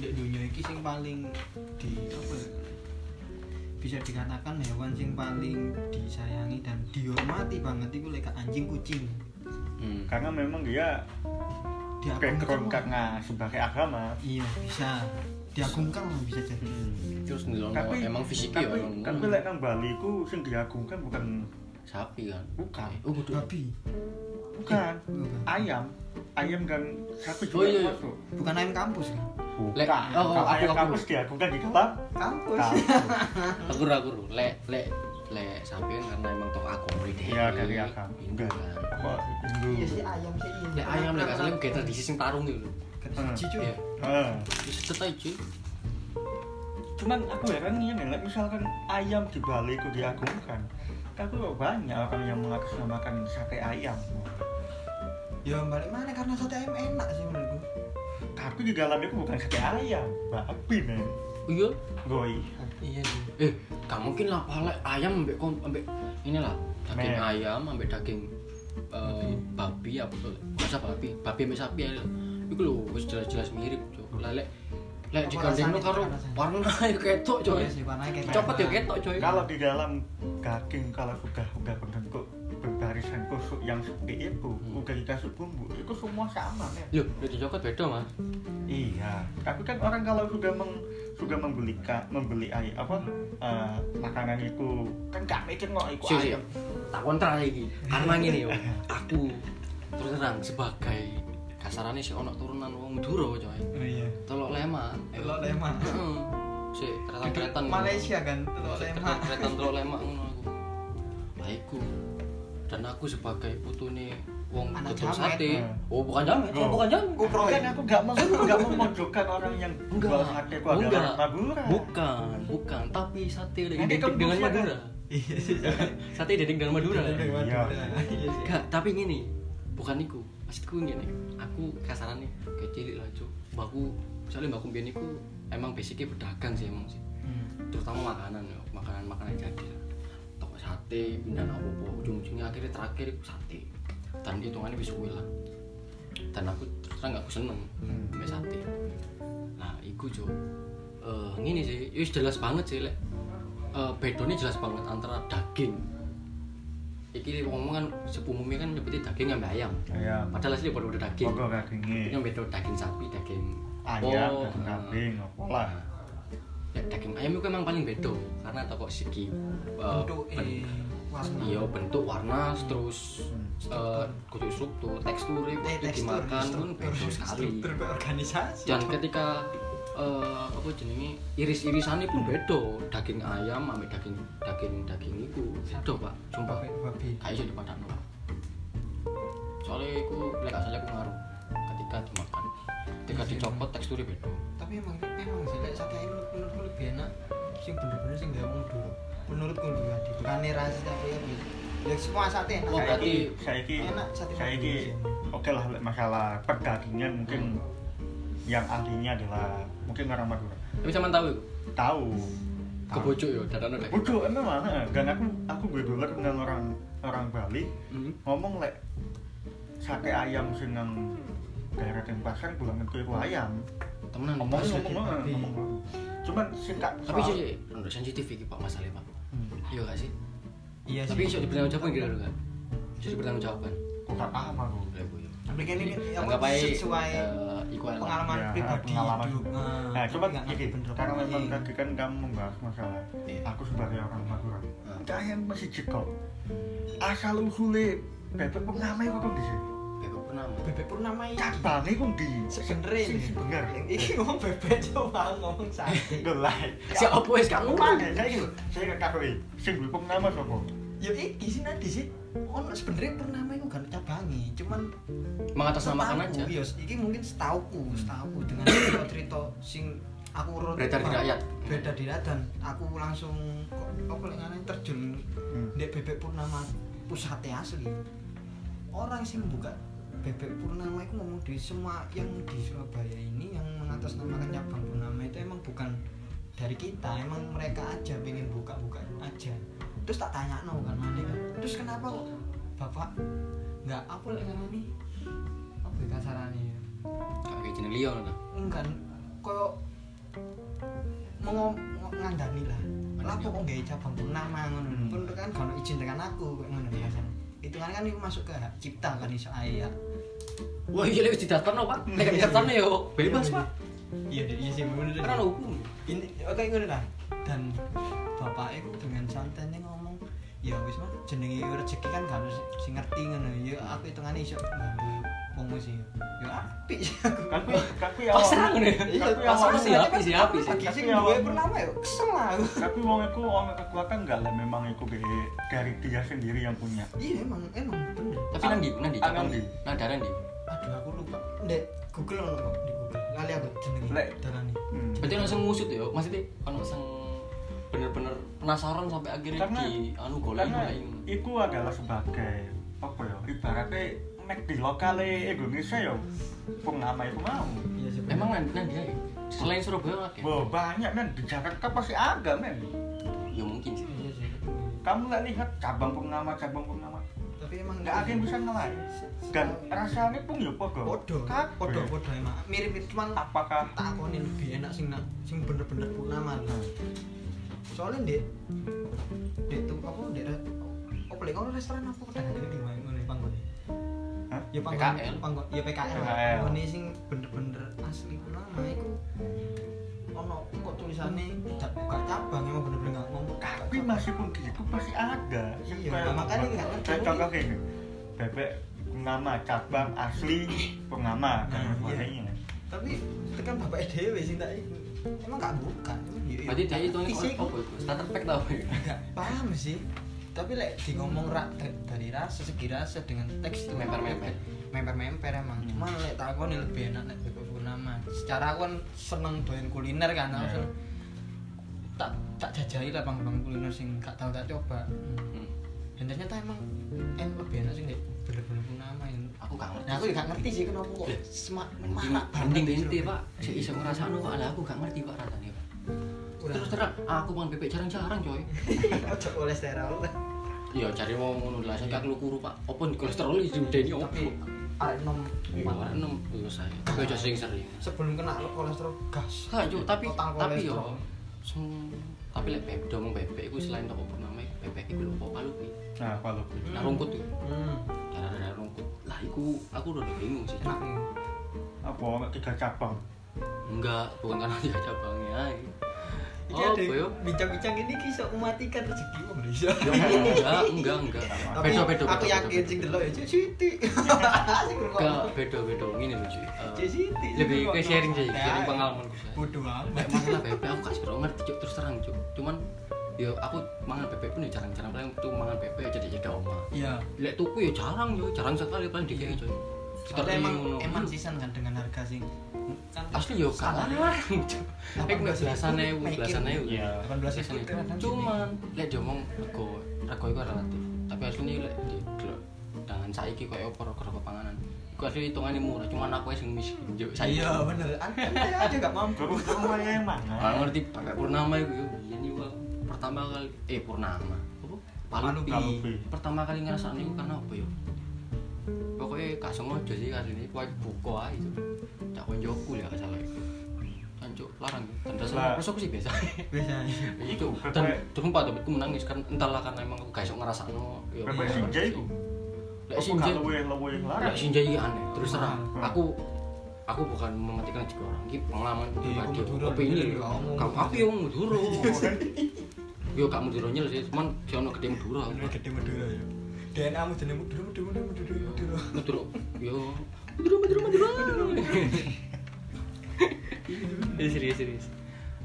Speaker 2: di dunia iki sing paling di apa ya? bisa dikatakan hewan sing paling disayangi dan dihormati banget itu lek anjing kucing
Speaker 1: hmm.
Speaker 3: Karena memang dia background
Speaker 2: diagungkan
Speaker 3: karena sebagai agama.
Speaker 2: iya bisa diagungkan lah bisa jadi
Speaker 1: terus ndelok
Speaker 3: Tapi
Speaker 1: emang fisiknya ya
Speaker 3: tapi,
Speaker 1: emang
Speaker 3: tapi lek nang Bali ku sing diagungkan bukan
Speaker 1: sapi kan
Speaker 3: Bukan.
Speaker 1: Eh, oh
Speaker 3: Nah.
Speaker 1: kudu
Speaker 2: babi
Speaker 3: bukan
Speaker 2: bukan.
Speaker 3: ayam. Ayam kan sapi
Speaker 1: Oh, iya, iya.
Speaker 3: juga masuk.
Speaker 2: bukan ayam kampus kan
Speaker 1: Lek-
Speaker 3: Bukan.
Speaker 1: oh, oh,
Speaker 3: Kalau
Speaker 1: aku-
Speaker 3: ayam
Speaker 1: aku- Oh, iya.
Speaker 3: kampus diagungkan di kelab.
Speaker 2: kampus
Speaker 1: aku ragu lho lek lek lek sapi kan karena emang tokoh agama ini
Speaker 3: Iya dari agama.
Speaker 1: Hindu kan
Speaker 3: Apa Hindu?
Speaker 2: iya sih ayam sih
Speaker 1: lek ayam lek asale ge tradisi sing tarung itu lho
Speaker 2: siji cuy
Speaker 1: ya
Speaker 3: Eh.
Speaker 1: wis tetai cuy
Speaker 3: Cuman aku heran nih, nih, like, misalkan ayam di Bali ku diagungkan, tapi kok banyak orang yang mengatasnamakan sate ayam.
Speaker 2: ya balik mana karena sate ayam enak sih menurutku
Speaker 3: Tapi di dalamnya ku bukan sate ayam, babi nih.
Speaker 1: iya
Speaker 3: Goi.
Speaker 1: iya sih eh gak mungkin lah pala ayam ambek kon ambek ini lah daging
Speaker 3: Meh.
Speaker 1: ayam ambek daging eh, babi apa tuh masa babi babi ambek sapi ya itu lho wis jelas-jelas mirip cok lah lek lek
Speaker 2: Apa
Speaker 1: digandengno
Speaker 2: rasanya,
Speaker 1: karo
Speaker 2: apa rasanya?
Speaker 1: warna (laughs) ya ketok coy
Speaker 2: iya sih warnanya kayak
Speaker 1: copot ya ketok coy
Speaker 3: Kalau di dalam daging kalau sudah udah berbentuk berbarisan kusuk yang seperti itu, udah dikasih bumbu, itu semua sama nih.
Speaker 1: Loh, udah dicokot beda mah.
Speaker 3: Iya, tapi kan orang kalau sudah meng sudah membeli ka, membeli ayam apa eh, makanan itu kan gak mikir kok itu
Speaker 1: Sih, sih.
Speaker 3: ayam.
Speaker 1: Tak kontra lagi. Karena gini yo, aku terus terang sebagai kasarannya sih ono turunan wong Madura coy.
Speaker 2: oh iya
Speaker 1: Telok lema. yo.
Speaker 2: telur lemak
Speaker 1: Heeh. Si keretan-keretan.
Speaker 2: Malaysia kan telur lemak
Speaker 1: Keretan telok lemak ngono aku. Lah iku. Dan aku sebagai putune wong
Speaker 2: Anak
Speaker 1: tukang
Speaker 2: jamet.
Speaker 1: sate. Oh, bukan jamet, oh,
Speaker 3: Oh.
Speaker 1: bukan jamet.
Speaker 2: GoPro
Speaker 3: Kan aku gak mau gak mau memojokkan orang yang
Speaker 1: Enggak.
Speaker 3: jual sate ku adalah
Speaker 1: Enggak.
Speaker 3: orang Madura.
Speaker 1: Bukan, bukan, tapi sate
Speaker 3: Nanti
Speaker 1: identik dengan
Speaker 3: tembusnya, kan?
Speaker 1: Madura.
Speaker 2: Iya sih.
Speaker 1: (laughs) Sate Dedeng dan Madura ya. lah.
Speaker 2: Waduh,
Speaker 3: Iya.
Speaker 2: nah, Iya sih.
Speaker 1: Enggak, tapi gini, bukan iku. Maksudku gini, aku kasarannya kayak cilik lah, Cuk. Mbakku, soalnya mbakku mbiyen iku emang basicnya berdagang sih emang sih. Terutama makanan ya, makanan-makanan jadi lah. Toko sate, pindah apa apa ujung-ujungnya akhirnya terakhir iku sate. Dan hitungannya wis kuwi lah. Dan aku terus terang aku seneng
Speaker 3: Hmm.
Speaker 1: mbek sate. Nah, iku Cuk. Eh, ngene sih, ya wis jelas banget sih lek eh bedone jelas banget antara daging Iki ngomong kan sepumumnya kan nyebutnya daging sama ayam.
Speaker 3: Ayam.
Speaker 1: Padahal asli pada daging.
Speaker 3: Pokok
Speaker 1: Ini
Speaker 3: dagingnya
Speaker 1: beda daging sapi, daging
Speaker 3: ayam,
Speaker 1: oh,
Speaker 3: daging
Speaker 1: eh,
Speaker 3: kambing, apa lah.
Speaker 1: Ya, daging ayam itu emang paling beda karena toko segi eh,
Speaker 2: Untuk eh
Speaker 1: ben-
Speaker 2: warna.
Speaker 1: iya bentuk warna terus eh kudu struktur tekstur itu
Speaker 2: Eh, tekstur,
Speaker 1: dimakan pun
Speaker 2: struktur,
Speaker 1: beda sekali
Speaker 2: struktur berorganisasi.
Speaker 1: dan ketika eh apa jenenge iris-irisannya pun beda daging ayam sama daging daging daging itu beda pak sumpah
Speaker 2: Babi- babi.
Speaker 1: gak iso dipadakno Pak. soalnya aku lek asale aku ngaruh ketika dimakan ketika dicopot teksturnya beda
Speaker 2: Tapi emang emang sih lek sate ini menurutku lebih enak sing bener-bener sing gawe wong dulu. Menurutku lebih enak. Bukan rasis tapi ya. Ya semua sate enak.
Speaker 1: Oh, berarti
Speaker 3: saiki
Speaker 2: enak sate
Speaker 3: saiki oke lah lek masalah perdagingan mungkin yang ahlinya adalah mungkin orang Madura.
Speaker 1: tapi sama tahu iku,
Speaker 3: Tahu. Tahu.
Speaker 1: kebocok ya, yo dadane daging
Speaker 3: Bodoh emang mana? Dan aku aku gue dolar dengan orang orang Bali
Speaker 1: Hmm.
Speaker 3: ngomong lek sate ayam sing nang daerah Denpasar bulan itu ayam.
Speaker 1: temenan
Speaker 3: Ngomong
Speaker 1: Mas.
Speaker 3: ngomong ngomong.
Speaker 2: Tapi-
Speaker 3: ngomong. Cuman sing tak
Speaker 1: tapi
Speaker 2: Ah.
Speaker 1: sih
Speaker 3: soal-
Speaker 1: sih, menurut sensitif iki Pak masalahnya Pak
Speaker 3: Hmm.
Speaker 1: iya gak sih
Speaker 2: Iya
Speaker 1: tapi iso dipertanggung jawaban kira lho kan iso dipertanggung jawaban
Speaker 3: Kok gak paham aku.
Speaker 2: Tapi kan ini
Speaker 1: anggap
Speaker 2: apa,
Speaker 1: ae
Speaker 2: sesuai
Speaker 1: eh, iku ae lah.
Speaker 2: pengalaman
Speaker 3: Ya,
Speaker 2: pribadi
Speaker 3: pengalaman.
Speaker 2: hidup.
Speaker 3: Nah,
Speaker 2: tapi
Speaker 3: cuman
Speaker 2: nggak ngerti
Speaker 3: gini,
Speaker 2: bentrok.
Speaker 3: karena memang
Speaker 2: Iya.
Speaker 3: tadi kan kamu membahas masalah
Speaker 1: Iya.
Speaker 3: aku sebagai orang Madura.
Speaker 1: Ah.
Speaker 3: Kalian masih jekok. Asal usule bebek pengamai kok di sini.
Speaker 1: Bebek purnama.
Speaker 2: bebek purnama iki.
Speaker 3: Cabangnya kok di
Speaker 2: Sebenernya
Speaker 3: Sing-
Speaker 2: ini
Speaker 3: sing bener.
Speaker 2: Iki ngomong bebek coba ngomong sate.
Speaker 3: Gelai.
Speaker 1: Si apa wis gak
Speaker 3: Aku
Speaker 1: ngomong.
Speaker 3: mana? Saya gitu. Saya gak tahu. Sing duwe pengamal sapa?
Speaker 2: Ya iki sih nanti sih. Ono sebenarnya purnama iku gak cabangi, cuman
Speaker 1: Mengatasnamakan aja.
Speaker 2: Iya, iki mungkin setauku, setauku
Speaker 1: (coughs)
Speaker 2: dengan cerita-cerita sing aku urut
Speaker 1: Beredar di rakyat.
Speaker 2: Beda di rakyat dan aku langsung kok apa lek ngene terjun ndek bebek purnama pusate asli. Orang sing buka bebek purnama itu ngomong di semua yang di Surabaya ini yang mengatasnamakan cabang purnama itu emang bukan dari kita emang mereka aja pengen buka-buka aja terus tak tanya no kan mana kan terus kenapa kok bapak nggak apa lek nih apa ya kasarannya ya?
Speaker 1: Kayak jeneng Leon lah.
Speaker 2: enggak koyo mau ngandani lah lah kok nggak cabang pun nama ngono
Speaker 3: Hmm.
Speaker 2: pun kan kalau izin dengan aku kayak ngono ya kan itu kan kan itu masuk ke hak cipta kan iso ae ya
Speaker 1: Wah, iya lek wis didaftarno, Pak. Nek gak didaftarno yo bebas, Pak.
Speaker 2: iya iya sih bener
Speaker 1: Karena ono hukum.
Speaker 2: ini oke ngono lah dan bapak itu dengan santannya ngomong ya wis mah jenenge rezeki kan gak harus sing ngerti ngono ya aku hitungannya iso nganggo wong sih ya apik sih aku
Speaker 3: Tapi tapi ya.
Speaker 1: Pasrah ngono ya.
Speaker 2: Iya,
Speaker 3: Tapi
Speaker 1: pasrah
Speaker 3: awalnya-
Speaker 1: sih, api sih, api sih.
Speaker 2: Bagi sing
Speaker 3: Tapi awal-
Speaker 2: duwe purnama ya kesel lah aku.
Speaker 3: Tapi wong iku ono kekuatan enggak lah memang iku be- dari dia sendiri yang punya.
Speaker 2: Iya emang emang bener.
Speaker 1: Tapi nang ndi? Nang ndi?
Speaker 3: Ah,
Speaker 1: Cabang
Speaker 3: nang ndi?
Speaker 1: Nang daerah ndi?
Speaker 2: Aduh aku lupa. Ndek Google ono kok di Google. Lali aku jenenge.
Speaker 3: Lek.
Speaker 2: dalane.
Speaker 3: Hmm.
Speaker 1: Berarti langsung ngusut ya. Maksudnya kan langsung bener-bener penasaran sampai akhirnya
Speaker 3: Karena-
Speaker 1: di anu golek
Speaker 3: karena
Speaker 1: golek.
Speaker 3: itu adalah sebagai apa ya ibaratnya mek di lokal Indonesia ya pengama itu mau
Speaker 2: Iya sih.
Speaker 1: Emang nang nang dia ya? Selain Surabaya lagi.
Speaker 3: Wah, banyak men di Jakarta pasti ada men
Speaker 1: Ya mungkin sih.
Speaker 2: Iya sih.
Speaker 3: kamu nggak lihat cabang pengama cabang pengama
Speaker 2: Tapi emang
Speaker 3: nggak ada yang bisa ngelain dan rasanya pun ya podo
Speaker 2: podo.
Speaker 3: Kabeh.
Speaker 2: Podo podo emang. Mirip-mirip cuman tak
Speaker 3: apakah
Speaker 2: takoni lebih enak sing nak sing bener-bener purnama lah. Soalnya Ndek Ndek tuh apa Ndek re- apa lek ono restoran apa pedagang iki main ngene panggone.
Speaker 3: Hah?
Speaker 2: Ya
Speaker 1: PKL.
Speaker 2: panggon, panggon, ya PKL.
Speaker 3: PKL.
Speaker 2: PKL. Ini sing bener-bener asli purnama iku ono kok tulisannya tidak buka cabang emang bener-bener nggak ngomong
Speaker 3: tapi masih pun gitu pasti ada
Speaker 2: Iya, makanya nggak ngerti.
Speaker 3: Kayak contoh kayak gini bebek pengama cabang asli pengama dan
Speaker 2: Nah, iya.
Speaker 3: sebagainya
Speaker 2: tapi tekan bapak dewe sih tak iku emang nggak buka Emang iya, iya.
Speaker 1: Berarti dia itu
Speaker 2: Isi
Speaker 1: nih
Speaker 2: iku
Speaker 1: apa itu? Starter pack tau ya.
Speaker 2: nggak paham sih tapi lek di ngomong rak da- dari rasa segi rasa dengan teks itu
Speaker 1: Memper-memper.
Speaker 2: memper-memper emang
Speaker 1: Hmm.
Speaker 2: cuma lek takon
Speaker 1: Ya.
Speaker 2: lebih enak lek bebek purnama secara aku kan seneng doyan kuliner kan aku
Speaker 3: Iya.
Speaker 2: seneng tak tak jajahi lah bang bang kuliner sing gak tau tak coba
Speaker 1: Hmm.
Speaker 2: dan ternyata emang en lebih enak sih nek bener-bener pun nama ini
Speaker 1: aku gak ngerti
Speaker 2: nah aku juga gak ngerti sih kenapa kok
Speaker 1: Lah,
Speaker 2: semak
Speaker 1: Iya. mending
Speaker 2: marak banget
Speaker 1: mending
Speaker 2: gitu
Speaker 1: ente
Speaker 2: loh.
Speaker 1: pak saya iso ngerasakno pak lah aku gak ngerti pak rasanya pak
Speaker 2: Udah.
Speaker 1: terus terang aku makan bebek jarang-jarang coy
Speaker 2: ojo kolesterol
Speaker 1: iya cari mau ngono lah saya aku kuru pak apa nih kolesterol di deni opo
Speaker 2: tapi arek nom
Speaker 1: Iya, enam iya saya tapi aja sering-sering
Speaker 2: sebelum kena kolesterol gas
Speaker 1: Hah, Cuk, tapi
Speaker 2: Otak
Speaker 1: tapi yo.
Speaker 2: kolesterol.
Speaker 1: Sing tapi lek bebek domong bebek iku selain toko bernama iku bebek iku lho apa palu kuwi.
Speaker 3: nah kalau
Speaker 1: Nah rumput yo.
Speaker 2: hmm
Speaker 1: Cara-cara rumput. Lah iku aku udah bingung sih.
Speaker 2: enak
Speaker 1: Cuk.
Speaker 2: nih
Speaker 3: apa ono tiga cabang
Speaker 1: Enggak, bukan karena (laughs) dia cabangnya. ay.
Speaker 2: Ini
Speaker 1: Oh,
Speaker 2: ada
Speaker 1: apa yo?
Speaker 2: bincang-bincang ini kisah mematikan rezeki wong bisa.
Speaker 1: (laughs) Enggak, enggak, enggak.
Speaker 2: Tapi
Speaker 1: Beda, beda,
Speaker 2: aku
Speaker 1: beda,
Speaker 2: yakin
Speaker 1: beda.
Speaker 2: sing delok ya Cuk Siti. (laughs) Sing
Speaker 1: Enggak,
Speaker 2: ngrungokno.
Speaker 1: beda, beda. Ngene lho, Cuk. Eh,
Speaker 2: Cuk Siti. sing
Speaker 1: Lebih
Speaker 2: ngrungokno.
Speaker 1: ke sharing sih,
Speaker 2: Ya,
Speaker 1: sharing pengalaman gue. Shay.
Speaker 2: Bodoh amat.
Speaker 1: Lek masalah bebek aku gak sebenernya ngerti Cuk, terus terang Cuk. Cuman yo aku mangan bebek pun ya jarang-jarang paling tuh mangan bebek aja di jeda omah.
Speaker 2: Iya.
Speaker 1: Lek tuku ya jarang yo, jarang sekali paling dikene coy. Kita
Speaker 2: Soalnya emang emang season kan dengan harga sing kan
Speaker 1: asli yo kalah. Nek nek belasan ewu, belasan ewu.
Speaker 3: Iya.
Speaker 2: 18
Speaker 1: Belasan
Speaker 2: ribu kan
Speaker 1: ewu. Cuman lek diomong rego, rego iku relatif. Tapi asline lek didelok dengan saiki koyo opo rego panganan. Iku asli hitungane murah, cuman aku ae sing miskin yo saiki.
Speaker 2: Iya bener. Anda aja gak mampu.
Speaker 3: terus rumah yang
Speaker 1: Ora
Speaker 3: mana
Speaker 1: ngerti pakai purnama iku yo. Biyen iku aku pertama kali eh purnama. Apa? Palupi.
Speaker 3: Palupi.
Speaker 1: Pertama kali ngrasakne iku karena apa yo? Pokoknya gak sengaja sih asline kuwi buka ae. Cuk. Cak konjoku ya gak salah iku. Cancuk larang yo. Tendas
Speaker 3: Lah.
Speaker 1: terus aku sih biasa.
Speaker 2: Biasa.
Speaker 1: Itu
Speaker 3: Iku,
Speaker 1: dan
Speaker 3: bebek.
Speaker 1: sumpah tapi aku menangis kan entahlah karena emang aku gak iso ngrasakno yo.
Speaker 3: Bebek Shinja iku.
Speaker 1: Lek
Speaker 3: Apa
Speaker 1: sinjai.
Speaker 3: gak luwih luwih larang
Speaker 1: Lek sinjai iki aneh. Terus terang
Speaker 3: Hmm.
Speaker 1: aku aku bukan mematikan jika orang ini pengalaman
Speaker 2: Iya,
Speaker 1: pribadi
Speaker 2: aku Madura,
Speaker 1: opini
Speaker 2: iya, kamu.
Speaker 1: kamu aku yang muduro yo kamu muduro nyel sih cuman si ono gede muduro
Speaker 2: Bener gede Madura ya. DNA mu jeneng Madura Madura Madura Madura.
Speaker 1: muduro yo muduro muduro
Speaker 2: (laughs)
Speaker 1: muduro Eh, serius serius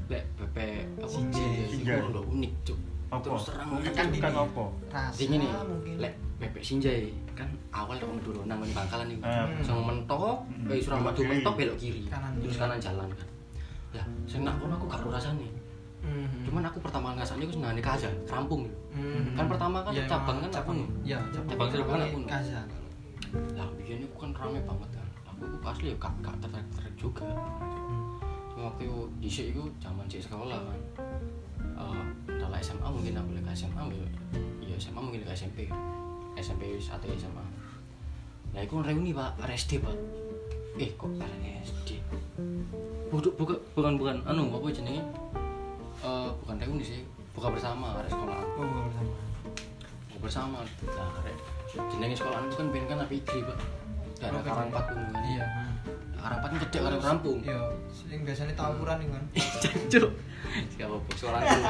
Speaker 1: lek pepe apa
Speaker 2: Sinjai.
Speaker 1: sinjai
Speaker 3: Sinjai.
Speaker 1: lo unik cuk
Speaker 3: Apa?
Speaker 1: terus terang
Speaker 3: kan
Speaker 1: kan
Speaker 3: bukan apa
Speaker 2: Rasa
Speaker 1: Jadi nih,
Speaker 2: Ah, mungkin.
Speaker 1: lek bebek sinjai kan awal orang dulu nanggung bangkalan nih,
Speaker 3: Eh,
Speaker 1: hmm. mentok,
Speaker 3: Hmm.
Speaker 1: eh Suramadu
Speaker 3: Belok kiri.
Speaker 1: mentok belok kiri,
Speaker 2: Kanan
Speaker 1: terus
Speaker 2: jalan.
Speaker 1: kanan jalan kan. Lah, sing nak kono aku gak ro rasane.
Speaker 2: Mhm.
Speaker 1: Cuman aku pertama kali ngasane aku senengane kaza, rampung.
Speaker 2: Mhm.
Speaker 1: Kan pertama kan
Speaker 2: Ya,
Speaker 1: cabang
Speaker 2: emang
Speaker 1: kan aku.
Speaker 2: Iya,
Speaker 1: Cabang Cirebon aku.
Speaker 2: Kaza.
Speaker 1: Lah, biyen aku kan rame banget kan. Aku aku asli ya gak gak tertarik-tertarik juga. Cuma waktu itu dhisik iku zaman sik sekolah kan. Eh, entahlah SMA mungkin aku lek SMA ya. Iya, SMA mungkin lek SMP. SMP wis atau SMA. Lah iku reuni Pak, RSD Pak. Eh, kok RSD? Bukan bukan bukan, bukan anu apa jenenge? Eh, bukan reuni sih, buka bersama ada sekolah.
Speaker 2: Oh, bukan bersama.
Speaker 1: Buka bersama. Nah, arek- jenenge sekolah itu kan ben kan api igri, Pak. Gak ada
Speaker 2: Oke.
Speaker 1: karang pat kan.
Speaker 2: Iya.
Speaker 1: Harapan gede karo rampung. (laughs)
Speaker 2: Iya, sing biasanya tawuran nih kan.
Speaker 1: Jancuk. Siapa bos seorang terus.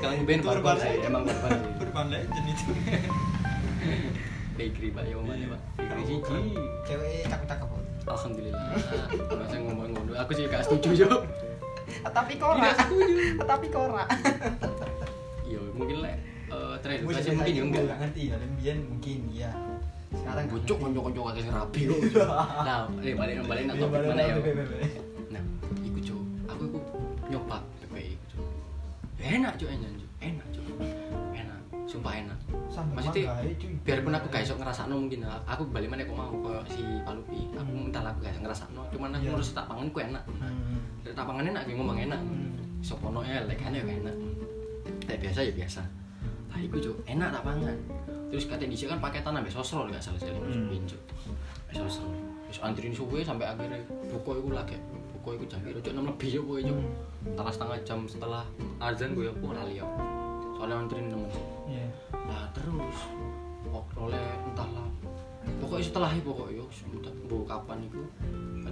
Speaker 1: Sekarang band
Speaker 2: Turban
Speaker 1: barbar sih,
Speaker 2: aja.
Speaker 1: emang barbar sih.
Speaker 2: Berban legend itu.
Speaker 1: Bakery Pak Yoma ya Pak. Bakery siji.
Speaker 2: Cewek cakep-cakep. kok.
Speaker 1: Alhamdulillah. Masa ngomong ngono, aku sih gak setuju yo. Ah,
Speaker 2: Tapi kora. Tapi kora.
Speaker 1: Iya, mungkin lek eh teredukasi mungkin yo enggak.
Speaker 2: ngerti ya, lembian mungkin ya. Sekarang
Speaker 1: Bocok konco-konco kate sing rapi
Speaker 2: (laughs)
Speaker 1: kok. Nah, eh balik balik nang
Speaker 2: Iya,
Speaker 1: topik mana ya? Nah, iku cuk, aku iku nyoba bebek iku cuk. Enak cuk, enak cuk, enak cuk. Enak, sumpah enak. Maksudnya, biarpun aku gak iso ngerasakno mungkin ah, aku balik mana kok mau koyo si Palupi. Aku
Speaker 2: Hmm.
Speaker 1: entahlah aku gak iso ngerasakno, cuman aku
Speaker 2: Iya. Hmm.
Speaker 1: ngurus tak pangan ku enak. Lek tak pangan enak ge ngomong enak. Sopono elek kan ya enak. Lek biasa ya biasa. Lah iku cuk, enak tak pangan. Terus katanya dhisik kan paketan ambek sosro gak salah jalan
Speaker 3: Hmm.
Speaker 1: hmm. cuk. Ambek sosro. Terus antriin suwe sampai akhirnya buka iku lagi. Buka iku jam piro cuk 6 lebih yo kowe cuk. Telah setengah jam setelah azan gue aku lali aku. Soalnya antriin nemen sih.
Speaker 2: Iya.
Speaker 1: Nah terus kok oleh entahlah. Pokoknya setelah itu pokoknya yo sebentar. Bu kapan itu?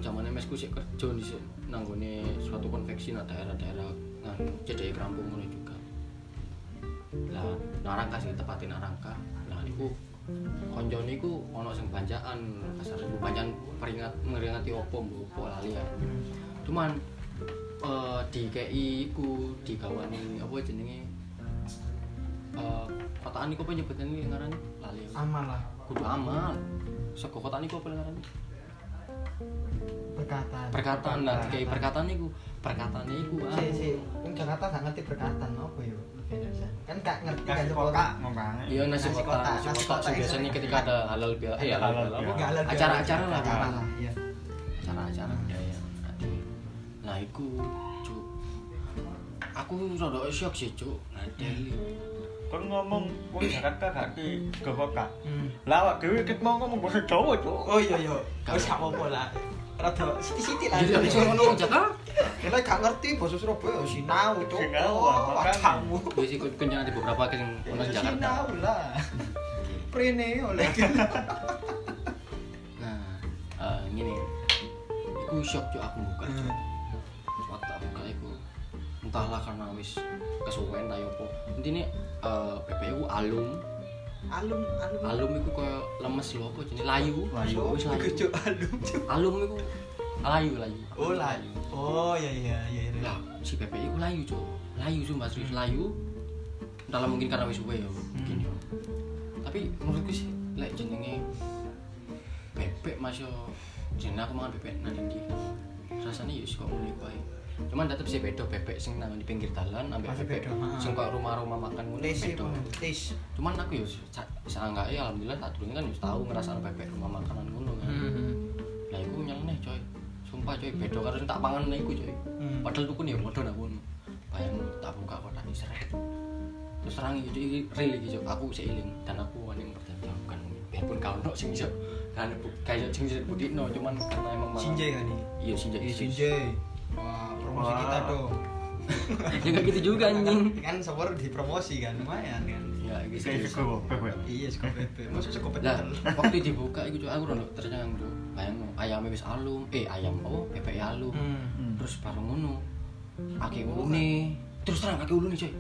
Speaker 1: Zamannya mesku sik kerja di sini nanggone suatu konveksi nah daerah-daerah nang cedek kampung ngono juga. Lah narangka sih tepatin narangka. Lah niku konco niku ono sing banjakan kasar ibu banjakan peringat ngeringati opo mbok opo lali ya. Cuman eh di KI ku digawani apa jenenge eh kotaan niku apa nyebutnya ini ngaran lali aku.
Speaker 2: Amal lah
Speaker 1: kudu amal sego kotaan niku apa ngaran
Speaker 2: perkataan.
Speaker 1: perkataan ah. lah kayak perkataan niku perkataannya itu
Speaker 2: Si,
Speaker 1: anu.
Speaker 2: si, yang Jakarta gak ngerti berkatan apa ya Indonesia. Kan gak ngerti
Speaker 3: kasih kota ngomongnya
Speaker 1: Iya nasi
Speaker 2: Nasi
Speaker 1: kotak,
Speaker 2: kotak,
Speaker 1: nasi
Speaker 2: nasi
Speaker 1: kotak
Speaker 2: kotak
Speaker 1: sih
Speaker 2: itu
Speaker 1: biasanya
Speaker 2: enak.
Speaker 1: ketika ada halal bihalal,
Speaker 3: Ada
Speaker 1: iya
Speaker 3: halal
Speaker 1: halal bihalal,
Speaker 3: bihalal.
Speaker 1: apa?
Speaker 2: Gak lebih-
Speaker 1: acara-acara lah,
Speaker 2: Acara Hmm.
Speaker 1: kan.
Speaker 2: lah, iya.
Speaker 1: acara-acara budaya. Aduh. Nah, iku cuk. Aku rada shock sih cuk. Nadeli.
Speaker 3: kan ngomong wong Jakarta gak di ke kota
Speaker 2: Hmm.
Speaker 3: lah awak dhewe ket mau ngomong bahasa Jawa cuk
Speaker 2: Oh iya iya.
Speaker 1: Gak.
Speaker 2: Wis gak apa-apa lah. Rada sithik-sithik lah.
Speaker 1: Jadi ada sing ngono wong Jakarta.
Speaker 2: Karena gak ngerti bahasa Surabaya oh, sinau Oh, cuk.
Speaker 3: Sinau, makanya.
Speaker 2: wajahmu.
Speaker 1: Wis iku kencang di beberapa kali ono
Speaker 2: Ya,
Speaker 1: Jakarta.
Speaker 2: Sinau lah. Prene oleh.
Speaker 1: Nah, eh gini. Iku shock cuk aku buka.
Speaker 2: Hmm.
Speaker 1: Waktu aku buka iku entahlah karena wis kesuwen ta yo apa. Intine eh PPU alum,
Speaker 2: Alum alum.
Speaker 1: alum iku koyo lemes lho apa jenenge layu.
Speaker 3: Layu.
Speaker 1: wis layu.
Speaker 2: Iku cuk alum cuk.
Speaker 1: Alum iku layu layu.
Speaker 2: Oh layu. Oh iya iya iya. iya.
Speaker 1: Lah, si PPI ku layu, Cuk. Layu sumpah serius
Speaker 2: Hmm.
Speaker 1: layu. Dalam mungkin karena wis suwe ya, mungkin ya. Tapi menurutku sih lek jenenge bebek Mas yo jenenge aku mangan bebek nang ndi. Rasane yo kok ngene iku ae. Cuman tetep sih beda bebek sing nang di pinggir dalan ambek
Speaker 2: Masih
Speaker 1: bebek
Speaker 2: beda, ha.
Speaker 1: sing kok rumah-rumah makan ngono
Speaker 2: Tes
Speaker 1: beda.
Speaker 2: tes.
Speaker 1: Cuman aku ya yo sanggake alhamdulillah tak durunge kan yo tau ngrasakno bebek rumah makanan ngono kan.
Speaker 2: Hmm,
Speaker 1: Lah iku nyeleneh coy. Sumpah coy, beda karo sing tak pangan iku coy.
Speaker 2: Hmm.
Speaker 1: Padahal tuku ya modho nak ngono. Bayang tak buka kotak iki seret. Terus terang iki iki real iki coy. Aku sik eling dan aku wani mempertanggungjawabkan. Biarpun kau nok sing iso kan kayak sing iso budino cuman karena emang malah-
Speaker 2: Sinjai kan ini.
Speaker 1: Iya sinjai.
Speaker 2: Iya Sinjai. Wah, promosi
Speaker 3: Wah.
Speaker 2: kita dong.
Speaker 1: (laughs) Ya enggak gitu juga anjing.
Speaker 2: Kan sumber dipromosi kan lumayan kan.
Speaker 1: Ya iki
Speaker 3: saya
Speaker 1: serius.
Speaker 3: sego bebek
Speaker 2: Iya, sego bebek. Masuk sego
Speaker 1: Lah,
Speaker 2: pecel.
Speaker 1: waktu dibuka iku coy aku rono tercengang coy. Bayang ayamnya wis alum, eh ayam oh bebek alum.
Speaker 2: Hmm.
Speaker 3: Hmm.
Speaker 1: terus bareng ngono kaki ulune terus terang kaki ulune coy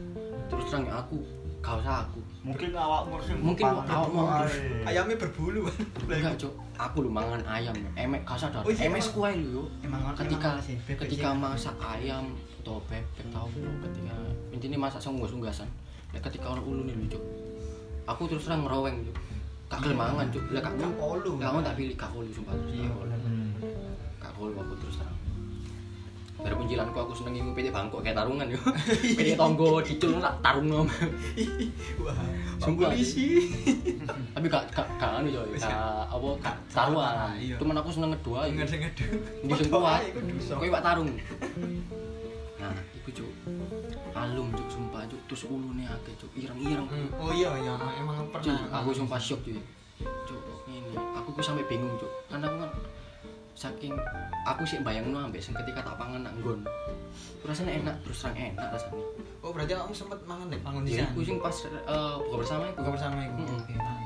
Speaker 1: terus terang ya aku gak usah aku
Speaker 3: mungkin awakmu sing
Speaker 1: Mungkin
Speaker 3: pangan
Speaker 1: awakmu
Speaker 3: kedua,
Speaker 1: harus-
Speaker 3: eh.
Speaker 2: Ayamnya berbulu.
Speaker 1: enggak cok aku lu mangan ayam emek gak sadar
Speaker 2: Oh, iya,
Speaker 1: emek
Speaker 2: emang-
Speaker 1: kuai lu yo
Speaker 2: Emang emang
Speaker 1: ketika
Speaker 2: apa sih? Bebek
Speaker 1: ketika
Speaker 2: sih.
Speaker 1: masak ayam atau bebek tau lu ketika intinya masak sungguh sunggasan ya ketika orang ulune lu cok aku terus terang ngeroweng cok gak gelem mangan cok lah kamu
Speaker 2: Gak kolu.
Speaker 1: kamu tak pilih gak kolu sumpah terus
Speaker 2: Iya,
Speaker 1: gak kolu. Kak Kol aku terus terang. Baru kuncilanku aku seneng ngimpi PT Bangkok kayak tarungan
Speaker 2: (laughs)
Speaker 1: yo. PT Tonggo dicul tak tarung nom.
Speaker 2: Wah, sumpah
Speaker 1: Sumpah,
Speaker 2: polisi.
Speaker 1: Tapi gak gak gak anu coy.
Speaker 2: Wis,
Speaker 1: Gak apa gak
Speaker 2: gak
Speaker 1: taruhan.
Speaker 2: taruhan, iya.
Speaker 1: Cuman aku seneng ngedua yo.
Speaker 2: Enggak dengar dulu.
Speaker 1: Di semua.
Speaker 2: Iku dosa.
Speaker 1: Kowe wak
Speaker 2: (laughs)
Speaker 1: tarung. Nah, iku cuk. Alum cuk sumpah cuk terus ulune akeh cuk ireng-ireng.
Speaker 2: Hmm, Oh iya iya emang
Speaker 1: Cuk,
Speaker 2: pernah.
Speaker 1: aku sumpah shock cuy. Cuk, ini aku ku sampe bingung cuk. Karena aku kan saking aku sih bayangno ambek sing ketika tak pangan nak nggon. Rasanya enak, terus terang enak rasanya.
Speaker 2: Oh berarti kamu sempat mangan deh bangun di
Speaker 1: Ya
Speaker 2: sana.
Speaker 1: aku sing pas eh, buka bersama iku.
Speaker 2: Buka bersama iku.
Speaker 1: Mm-mm.
Speaker 2: Oke. nah.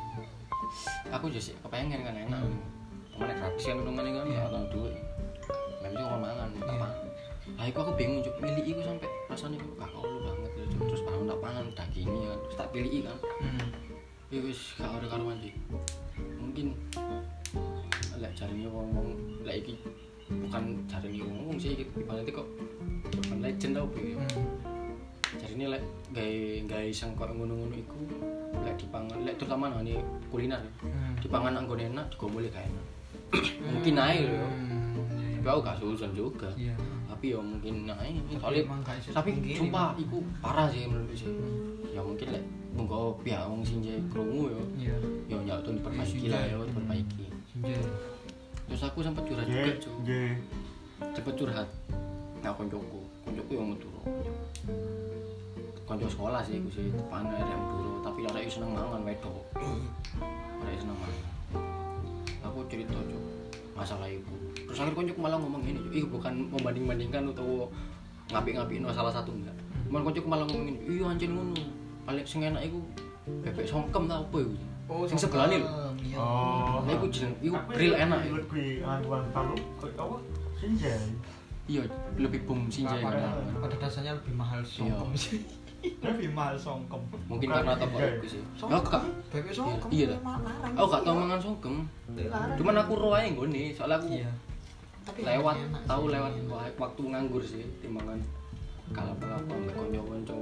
Speaker 1: Aku juga sih kepengen kan enak.
Speaker 2: Hmm.
Speaker 1: Kemana gratis kan untungan kan ya tau duit. Memang cuma mangan tak
Speaker 2: Iya.
Speaker 1: apa. Lah iku aku bingung cuk, milih iku sampe rasanya kok gak kau banget lho, cuk. Terus baru tak pangan dagingnya kan, terus tak pilih kan.
Speaker 2: Hmm.
Speaker 1: Ya wis gak ada karuan sih. Mungkin lek jarine wong-wong lek iki bukan jarine wong-wong sih iki ibaratnya kok urban legend tau piye.
Speaker 2: Hmm.
Speaker 1: Jarine lek gawe gawe sing koyo ngono-ngono iku lek dipangan lek terutama nang ini kuliner.
Speaker 2: Hmm.
Speaker 1: Dipangan nang nggone enak juga boleh gak enak. mungkin ae lho.
Speaker 2: Hmm.
Speaker 1: Tapi aku gak susun juga.
Speaker 2: Iya.
Speaker 1: Tapi ya mungkin ae.
Speaker 2: Tapi
Speaker 1: Soalnya
Speaker 2: emang gak iso
Speaker 1: tapi
Speaker 2: dipungkiri.
Speaker 1: sumpah iku parah sih menurutku sih.
Speaker 2: Hmm.
Speaker 1: Ya mungkin lek monggo pihak wong sing jek krungu ya.
Speaker 2: Iya.
Speaker 1: ya ya itu diperbaiki
Speaker 2: Iya,
Speaker 1: lah
Speaker 2: iya.
Speaker 1: ya diperbaiki
Speaker 2: Iya.
Speaker 1: terus aku sempat curhat juga
Speaker 3: Ye,
Speaker 1: cuy
Speaker 3: ye.
Speaker 1: cepet curhat nah koncoku koncoku yang Madura konco sekolah sih aku sih depan ada yang Madura tapi ada yang seneng mangan wedok ada yang seneng mangan aku cerita cuy masalah ibu terus akhirnya koncoku malah ngomong ini cuy bukan membanding bandingkan atau ngapik ngapikin salah satu enggak cuman koncoku malah ngomong ini iya anjir ngono paling sing enak iku bebek songkem tau apa iku
Speaker 4: Oh,
Speaker 1: sing sebelah nih lho.
Speaker 2: Iya.
Speaker 3: oh
Speaker 1: Nah, iku jeneng, iku
Speaker 3: Tapi
Speaker 1: real enak. ya? iku.
Speaker 3: lebih anuan palu kok apa sinjai
Speaker 1: Iya, lebih boom sih
Speaker 2: Nah,
Speaker 1: jaya
Speaker 2: pada,
Speaker 1: kenal.
Speaker 2: pada dasarnya lebih mahal songkem sih. (laughs) lebih mahal songkem.
Speaker 1: Mungkin
Speaker 3: bukan
Speaker 1: karena toko
Speaker 3: jaya.
Speaker 1: aku sih. Ya
Speaker 2: Songkem.
Speaker 1: kak,
Speaker 2: Bebek songkem.
Speaker 1: Iya, iya.
Speaker 2: emang larang.
Speaker 1: aku gak tau mangan songkem.
Speaker 2: Larang.
Speaker 1: Cuman aku roh aja nggone, soalnya aku
Speaker 2: Iya. Tapi
Speaker 1: lewat,
Speaker 2: enak sih.
Speaker 1: tahu lewat wa- waktu nganggur sih timbangan kalau apa mbek kanca-kanca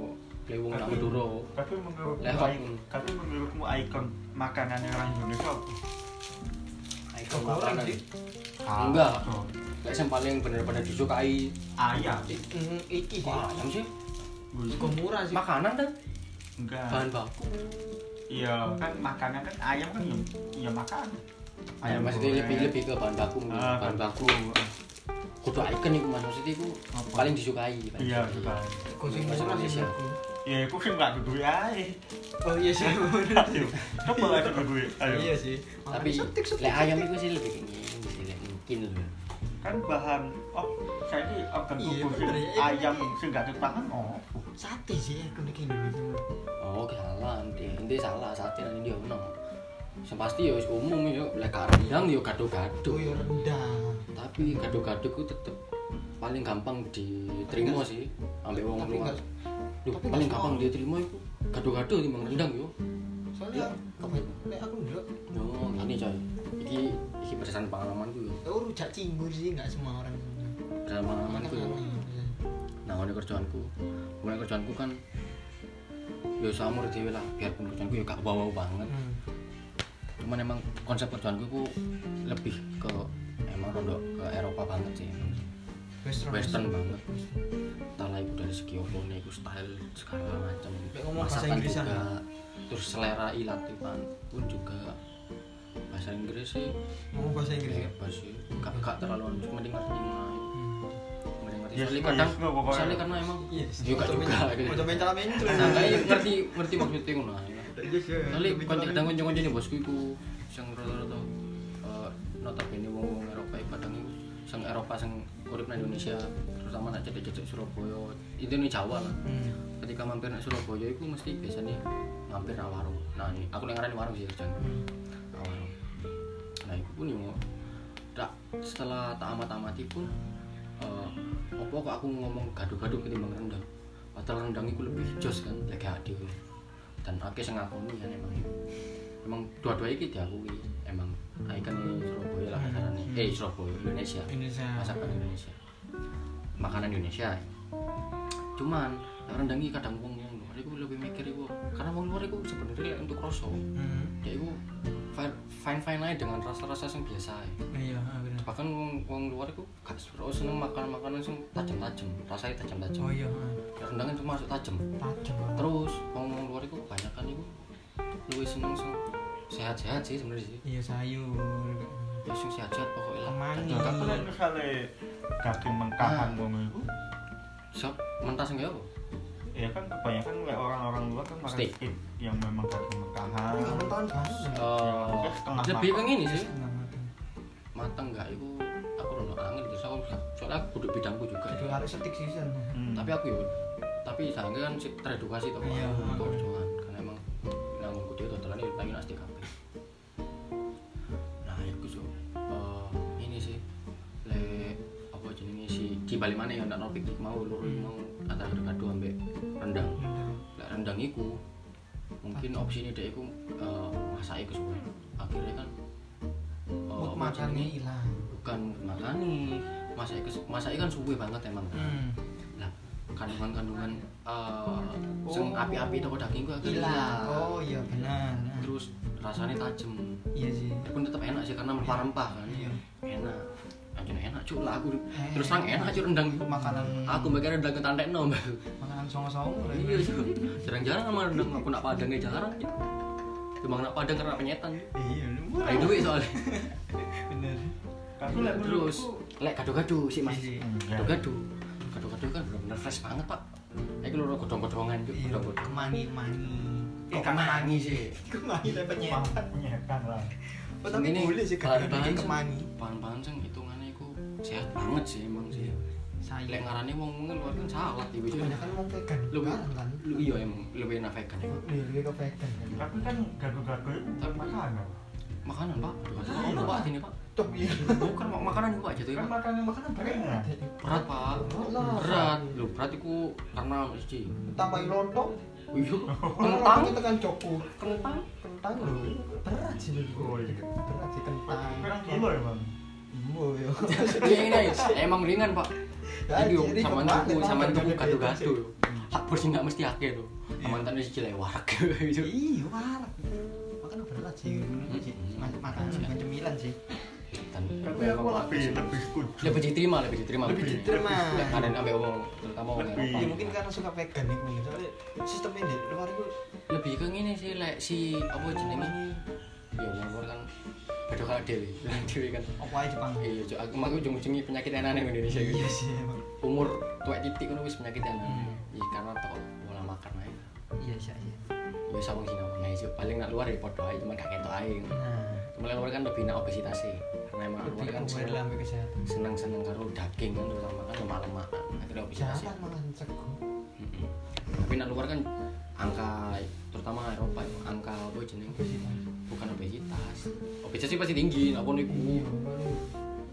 Speaker 1: lewung nang duro.
Speaker 3: tapi menurutmu
Speaker 1: Lewat.
Speaker 3: ikon- tapi menurutmu ikon makanan orang Indonesia apa?
Speaker 1: Ikon
Speaker 2: Goreng
Speaker 1: makanan.
Speaker 2: sih. Salah,
Speaker 1: Enggak.
Speaker 2: Cok.
Speaker 1: Lek sing paling bener-bener disukai
Speaker 3: ayam
Speaker 4: Mm,
Speaker 2: Iya.
Speaker 4: iki sih.
Speaker 1: kok ayam sih?
Speaker 4: Kok murah sih?
Speaker 1: Makanan kan
Speaker 3: enggak
Speaker 1: bahan baku.
Speaker 3: iya kan makanan kan ayam kan ya, ya makan
Speaker 1: Ayam maksudnya lebih lebih ke bahan baku, mungkin.
Speaker 3: ah,
Speaker 1: bahan baku. Kudu icon iku Mas maksudnya iku
Speaker 3: Apa?
Speaker 1: paling disukai. paling
Speaker 3: iya
Speaker 1: disukai.
Speaker 3: sudah
Speaker 4: Kok sih murah sih?
Speaker 1: Indonesia.
Speaker 3: ya aku sih nggak duit aja
Speaker 4: Oh iya sih.
Speaker 3: ayo coba lah ada duit ayo
Speaker 4: (laughs) Iya sih.
Speaker 1: Tapi lek ayam iku sih lebih kayak gini sih lek mungkin lho.
Speaker 3: kan bahan oh saya ini organ
Speaker 4: Iya,
Speaker 3: tubuh sih
Speaker 4: bener ya, iya,
Speaker 3: ayam
Speaker 4: iya.
Speaker 3: sih nggak ada tangan oh
Speaker 4: Sate sih aku nek Indonesia.
Speaker 1: Oh, ki salah nanti. Nanti salah sate nanti dia ono. Sing pasti ya wis umum ya lek kariang ya gado-gado.
Speaker 4: Tuyul rendang.
Speaker 1: Tapi gado-gado ku tetep paling gampang diterima sih ambek wong
Speaker 4: Tapi
Speaker 1: luar.
Speaker 4: enggak
Speaker 1: Duh,
Speaker 4: tapi enggak
Speaker 1: paling gampang
Speaker 4: semua.
Speaker 1: diterima iku gado-gado timbang rendang yo.
Speaker 4: soalnya
Speaker 1: Apa itu?
Speaker 4: nek aku ndelok
Speaker 1: Yo, ini Oh, coy. Iki iki berdasarkan pengalamanku yo.
Speaker 4: aku rujak cingur sih nggak semua orang.
Speaker 1: Berdasarkan pengalamanku yo. Nah, ini kerjaanku. Mulai kerjaanku kan yo samur dhewe lah, biarpun kerjaanku yo gak wow banget.
Speaker 4: Hmm.
Speaker 1: cuman emang konsep kerjaanku ku lebih ke emang rondo ke Eropa banget sih
Speaker 4: Western.
Speaker 1: Western banget entahlah itu dari segi opone itu style segala macam
Speaker 4: Lek ngomong bahasa Inggrisan
Speaker 1: juga
Speaker 4: ya?
Speaker 1: terus selera ilatipan pun juga bahasa Inggris sih
Speaker 4: Ngomong bahasa Inggris ya.
Speaker 1: bebas sih gak, gak terlalu harus mending ngerti mah
Speaker 4: Hmm.
Speaker 1: mending ngerti
Speaker 3: Yes,
Speaker 1: soalnya
Speaker 3: no,
Speaker 1: kadang
Speaker 3: yes, no, pokoknya.
Speaker 1: soalnya karena emang
Speaker 4: Iya.
Speaker 1: juga juga
Speaker 4: Mau mental mental.
Speaker 1: Sangka ngerti ngerti maksudnya ngono ya. ae.
Speaker 4: Iya sih.
Speaker 1: Kali kadang kanca-kanca nih bosku iku sing rata-rata eh, notabene wong-wong Eropa iku kadang iku sing Eropa sing urip nang Indonesia terutama nak cedek-cedek Surabaya itu nih Jawa lah
Speaker 4: Hmm.
Speaker 1: ketika mampir nang Surabaya iku mesti biasanya mampir nang warung nah ini aku yang ngarani warung sih kerjaan nang warung nah iku pun yo tak setelah tak amat-amati pun eh, apa kok aku ngomong gaduh-gaduh ketimbang rendang padahal rendang iku lebih jos kan lagi adil dan akeh sing ngakoni kan emang emang dua-dua iki diakui emang ikon Surabaya lah kasarane eh Surabaya Indonesia
Speaker 2: Hmm.
Speaker 4: Indonesia.
Speaker 1: masakan Indonesia makanan Indonesia cuman yang rendang iki kadang wong yang luar iku lebih mikir iku karena wong luar iku sebenarnya untuk kroso
Speaker 4: Hmm.
Speaker 1: ya iku fine fine aja dengan rasa-rasa yang biasa ya.
Speaker 4: Iya, ah, bener.
Speaker 1: bahkan wong wong luar iku gak terlalu seneng makan makanan yang tajam-tajam rasanya tajam-tajam
Speaker 4: Oh iya,
Speaker 1: rendang kan cuma masuk tajam
Speaker 4: tajam. ah.
Speaker 1: terus wong wong luar iku kebanyakan iku luwih seneng sing sehat-sehat sih sebenarnya sih
Speaker 4: Iya sayur. gitu.
Speaker 1: ya sing sehat-sehat pokoknya lah
Speaker 4: Manis.
Speaker 1: Dadi
Speaker 3: Nah, kalau misalnya kaki mentahan ngono itu
Speaker 1: sop mentah sing ya apa?
Speaker 3: ya kan kebanyakan oleh orang-orang luar kan makan
Speaker 1: Steak.
Speaker 3: steak yang memang kaki mentahan
Speaker 4: Kamu tahun banget.
Speaker 1: Eh,
Speaker 3: Terus setengah
Speaker 1: lebih ke
Speaker 3: matang.
Speaker 1: ngene sih
Speaker 4: Setengah matang.
Speaker 1: mateng gak iku aku rono angin terus aku soalnya aku duduk bidangku juga
Speaker 4: Aduh, harus setik sih San.
Speaker 3: Hmm.
Speaker 1: tapi aku yo tapi sayangnya kan sik teredukasi tuh
Speaker 4: Iya.
Speaker 1: aku perjuangan karena emang ya namun gede tuh telan itu pengen asli kabeh nah itu so eh, ini sih le apa jenenge si di balik mana ya ndak topik mau loro iku mau antara gado-gado ambek rendang lek rendang iku mungkin opsine dhek iku eh, masake kesuwen akhirnya kan eh,
Speaker 4: Mood
Speaker 1: apa
Speaker 4: makannya
Speaker 1: jenenge?
Speaker 4: hilang.
Speaker 1: bukan makane masake kes- masake kan suwe banget emang
Speaker 2: Hmm.
Speaker 4: Hmm.
Speaker 1: lah kandungan-kandungan eh sing
Speaker 4: Oh.
Speaker 1: api-api toko daging ku akhirnya
Speaker 4: Hilang.
Speaker 1: hilang.
Speaker 4: Oh iya benar. Nah,
Speaker 1: terus rasanya tajam
Speaker 4: Iya sih.
Speaker 1: pun tetap enak sih karena rempah-rempah kan
Speaker 4: Iya.
Speaker 1: enak anjir enak cuy lah aku
Speaker 4: Eh.
Speaker 1: terus terang enak cuy rendang
Speaker 4: Itu makanan Oh,
Speaker 1: aku mikir rendang ketantek nom
Speaker 4: makanan songo-songo lah.
Speaker 1: iya cuy jarang-jarang sama rendang aku nak padangnya jarang cuy cuma nak padang karena penyetan
Speaker 4: Iya, lu murah.
Speaker 1: ada duit soalnya
Speaker 4: Bener.
Speaker 3: Tapi lek
Speaker 1: terus
Speaker 3: menurutku
Speaker 1: lek gado-gado sih mas
Speaker 4: Iya,
Speaker 3: enggak.
Speaker 1: gado-gado gado-gado kan benar-benar fresh banget pak Ini lho godong-godongan cuy
Speaker 4: Iya,
Speaker 1: godong-godong
Speaker 4: kemangi-mangi.
Speaker 1: Kok kemangi sih?
Speaker 4: Kemangi lah
Speaker 3: Wah,
Speaker 4: penyetan.
Speaker 3: menyehatkan lah
Speaker 4: Oh, tapi boleh sih kalau
Speaker 1: bahan-bahan kan? sing-
Speaker 4: kemangi.
Speaker 1: Bahan-bahan sing hitungannya iku sehat banget sih emang sih. Iya. Lek
Speaker 4: Sayur.
Speaker 1: ngarani wong mungkin luar kan salah tiba
Speaker 4: Kebanyakan mau vegan.
Speaker 1: Lu
Speaker 4: Barang kan.
Speaker 1: lu iya emang lebih enak vegan ya.
Speaker 4: Iya, lebih ke vegan.
Speaker 3: tapi kan gado-gado itu bukan makanan
Speaker 1: Makanan Pak. Aduh,
Speaker 3: Iya.
Speaker 1: Ono Pak sini Pak.
Speaker 4: Tuh, iya.
Speaker 1: Bukan mak- makanan iku Pak jatuh
Speaker 3: kan ya?
Speaker 1: Pak.
Speaker 3: makanan makanan berat
Speaker 1: Iya. Berat Pak.
Speaker 4: Berat Oh, lah.
Speaker 1: Berat. Lu berat iku karena siji.
Speaker 4: Tambahin lontong.
Speaker 1: Iya.
Speaker 4: Kentang
Speaker 1: Kentang.
Speaker 4: itu kan Joko.
Speaker 1: Kentang.
Speaker 4: Kentang loh. Berat sih loh.
Speaker 3: Oh, iya.
Speaker 4: Berat sih
Speaker 1: Ah.
Speaker 4: kentang.
Speaker 3: kurang kilo ya bang
Speaker 4: Imbo yo.
Speaker 1: Iya ini emang ringan Pak.
Speaker 4: Ya,
Speaker 1: Jadi
Speaker 4: jadi
Speaker 1: sama
Speaker 4: kemarin
Speaker 1: tuku
Speaker 4: kan
Speaker 1: sama
Speaker 4: ada
Speaker 1: tuku
Speaker 4: beda
Speaker 1: gado-gado.
Speaker 4: sih.
Speaker 1: Hak bersih nggak mesti akeh lho. Amantane siji lewar. (laughs) gitu.
Speaker 4: Iya, warak. Makan berat sih.
Speaker 1: Hmm.
Speaker 4: Makan bukan cemilan sih.
Speaker 1: dan
Speaker 3: tapi ya, aku lebih lebih setuju
Speaker 1: lebih diterima lebih diterima
Speaker 3: Lebih
Speaker 2: diterima.
Speaker 1: karena ambil omong terutama omong
Speaker 3: Lebih.
Speaker 4: Iya,
Speaker 1: Eropa.
Speaker 2: ya mungkin karena suka vegan nih gue soalnya sistemnya di luar itu
Speaker 1: lebih ke ngene sih lek si apa jenenge ya wong luar kan beda kalau dewi (laughs) dewi kan
Speaker 2: apa aja Jepang
Speaker 1: iya cok aku aku ujung-ujungnya penyakit yang aneh Indonesia gitu
Speaker 2: iya sih emang
Speaker 1: umur tua titik kan wis penyakit yang aneh
Speaker 2: Hmm.
Speaker 1: iya karena tau pola makan aja
Speaker 2: iya sih iya.
Speaker 1: ya sama sih nama aja Cuk. paling nak luar ya podo aja cuma gak ketok aja
Speaker 2: nah
Speaker 1: cuma lek luar kan lebih nak obesitas sih karena emang luar
Speaker 2: lebih
Speaker 1: kan
Speaker 2: aware lah
Speaker 1: seneng-
Speaker 2: ambil kesehatan
Speaker 1: seneng-seneng karo daging kan terutama kan lemah lemahan akhirnya obesitas ya
Speaker 2: jahat malah cegu
Speaker 1: Mm-mm. tapi nak luar kan angka terutama Eropa ya, angka apa jeneng
Speaker 4: Iya
Speaker 1: bukan obesitas obesitas sih pasti tinggi apa nih
Speaker 2: iya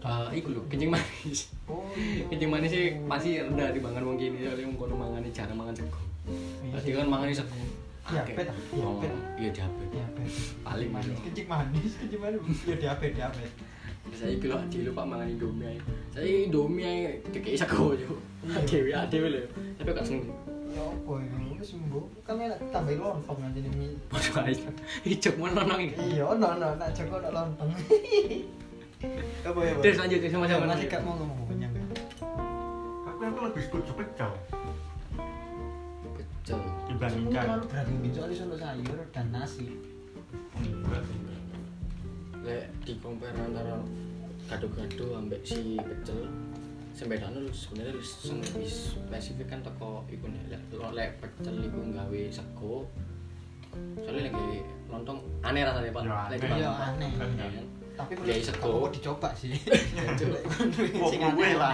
Speaker 1: Eh, iku lho kencing manis (laughs)
Speaker 2: oh iya
Speaker 1: kencing manis sih pasti rendah dibangun wong kini soalnya wong kono mangane jarang mangan sego
Speaker 2: Iya
Speaker 1: tadi
Speaker 2: sih.
Speaker 1: kan mangan sego
Speaker 2: Diabet,
Speaker 1: Akeh.
Speaker 2: diabet.
Speaker 1: Oh, iya diabet
Speaker 2: diabetes
Speaker 1: paling
Speaker 2: manis
Speaker 1: manis
Speaker 2: kencing manis kencing manis ya diabetes diabetes
Speaker 1: saya iki lho di lupa mangan indomie ae. saya indomie ae dikei sego yo
Speaker 2: Iya.
Speaker 1: (laughs) dewe adewe lho tapi gak seneng (laughs)
Speaker 2: ya apa ini itu sembuh kan enak tambahin lontong aja nih Mi.
Speaker 1: Waduh, ae. Ijek mana nang iki?
Speaker 2: iya no no nak jago nak lontong (laughs) apa ya
Speaker 1: Terus lanjut, terus sama-sama.
Speaker 2: masih gak mau ngomong banyak ya
Speaker 3: tapi aku lebih setuju pecel
Speaker 1: Pecel.
Speaker 2: Ini terlalu
Speaker 3: dibandingkan
Speaker 2: berat mungkin soalnya soal sayur dan nasi
Speaker 3: Enggak sih.
Speaker 1: Lek dikompar antara gado-gado ambek si pecel sembedane lu sebenarnya lu sing lebih spesifik kan teko iku nih lek lek pecel iku gawe sego soalnya lagi lontong aneh rasanya pak
Speaker 3: Ya,
Speaker 1: lek
Speaker 3: aneh.
Speaker 2: iya
Speaker 1: dimakan.
Speaker 2: aneh
Speaker 3: Kan enggak.
Speaker 1: Iya kan?
Speaker 2: tapi
Speaker 1: Ya,
Speaker 2: menurut
Speaker 1: iso
Speaker 2: aku
Speaker 1: tuh.
Speaker 2: kok dicoba
Speaker 1: (laughs)
Speaker 2: sih
Speaker 1: Coba.
Speaker 3: Wah,
Speaker 2: sing
Speaker 3: gue
Speaker 2: aneh
Speaker 3: lah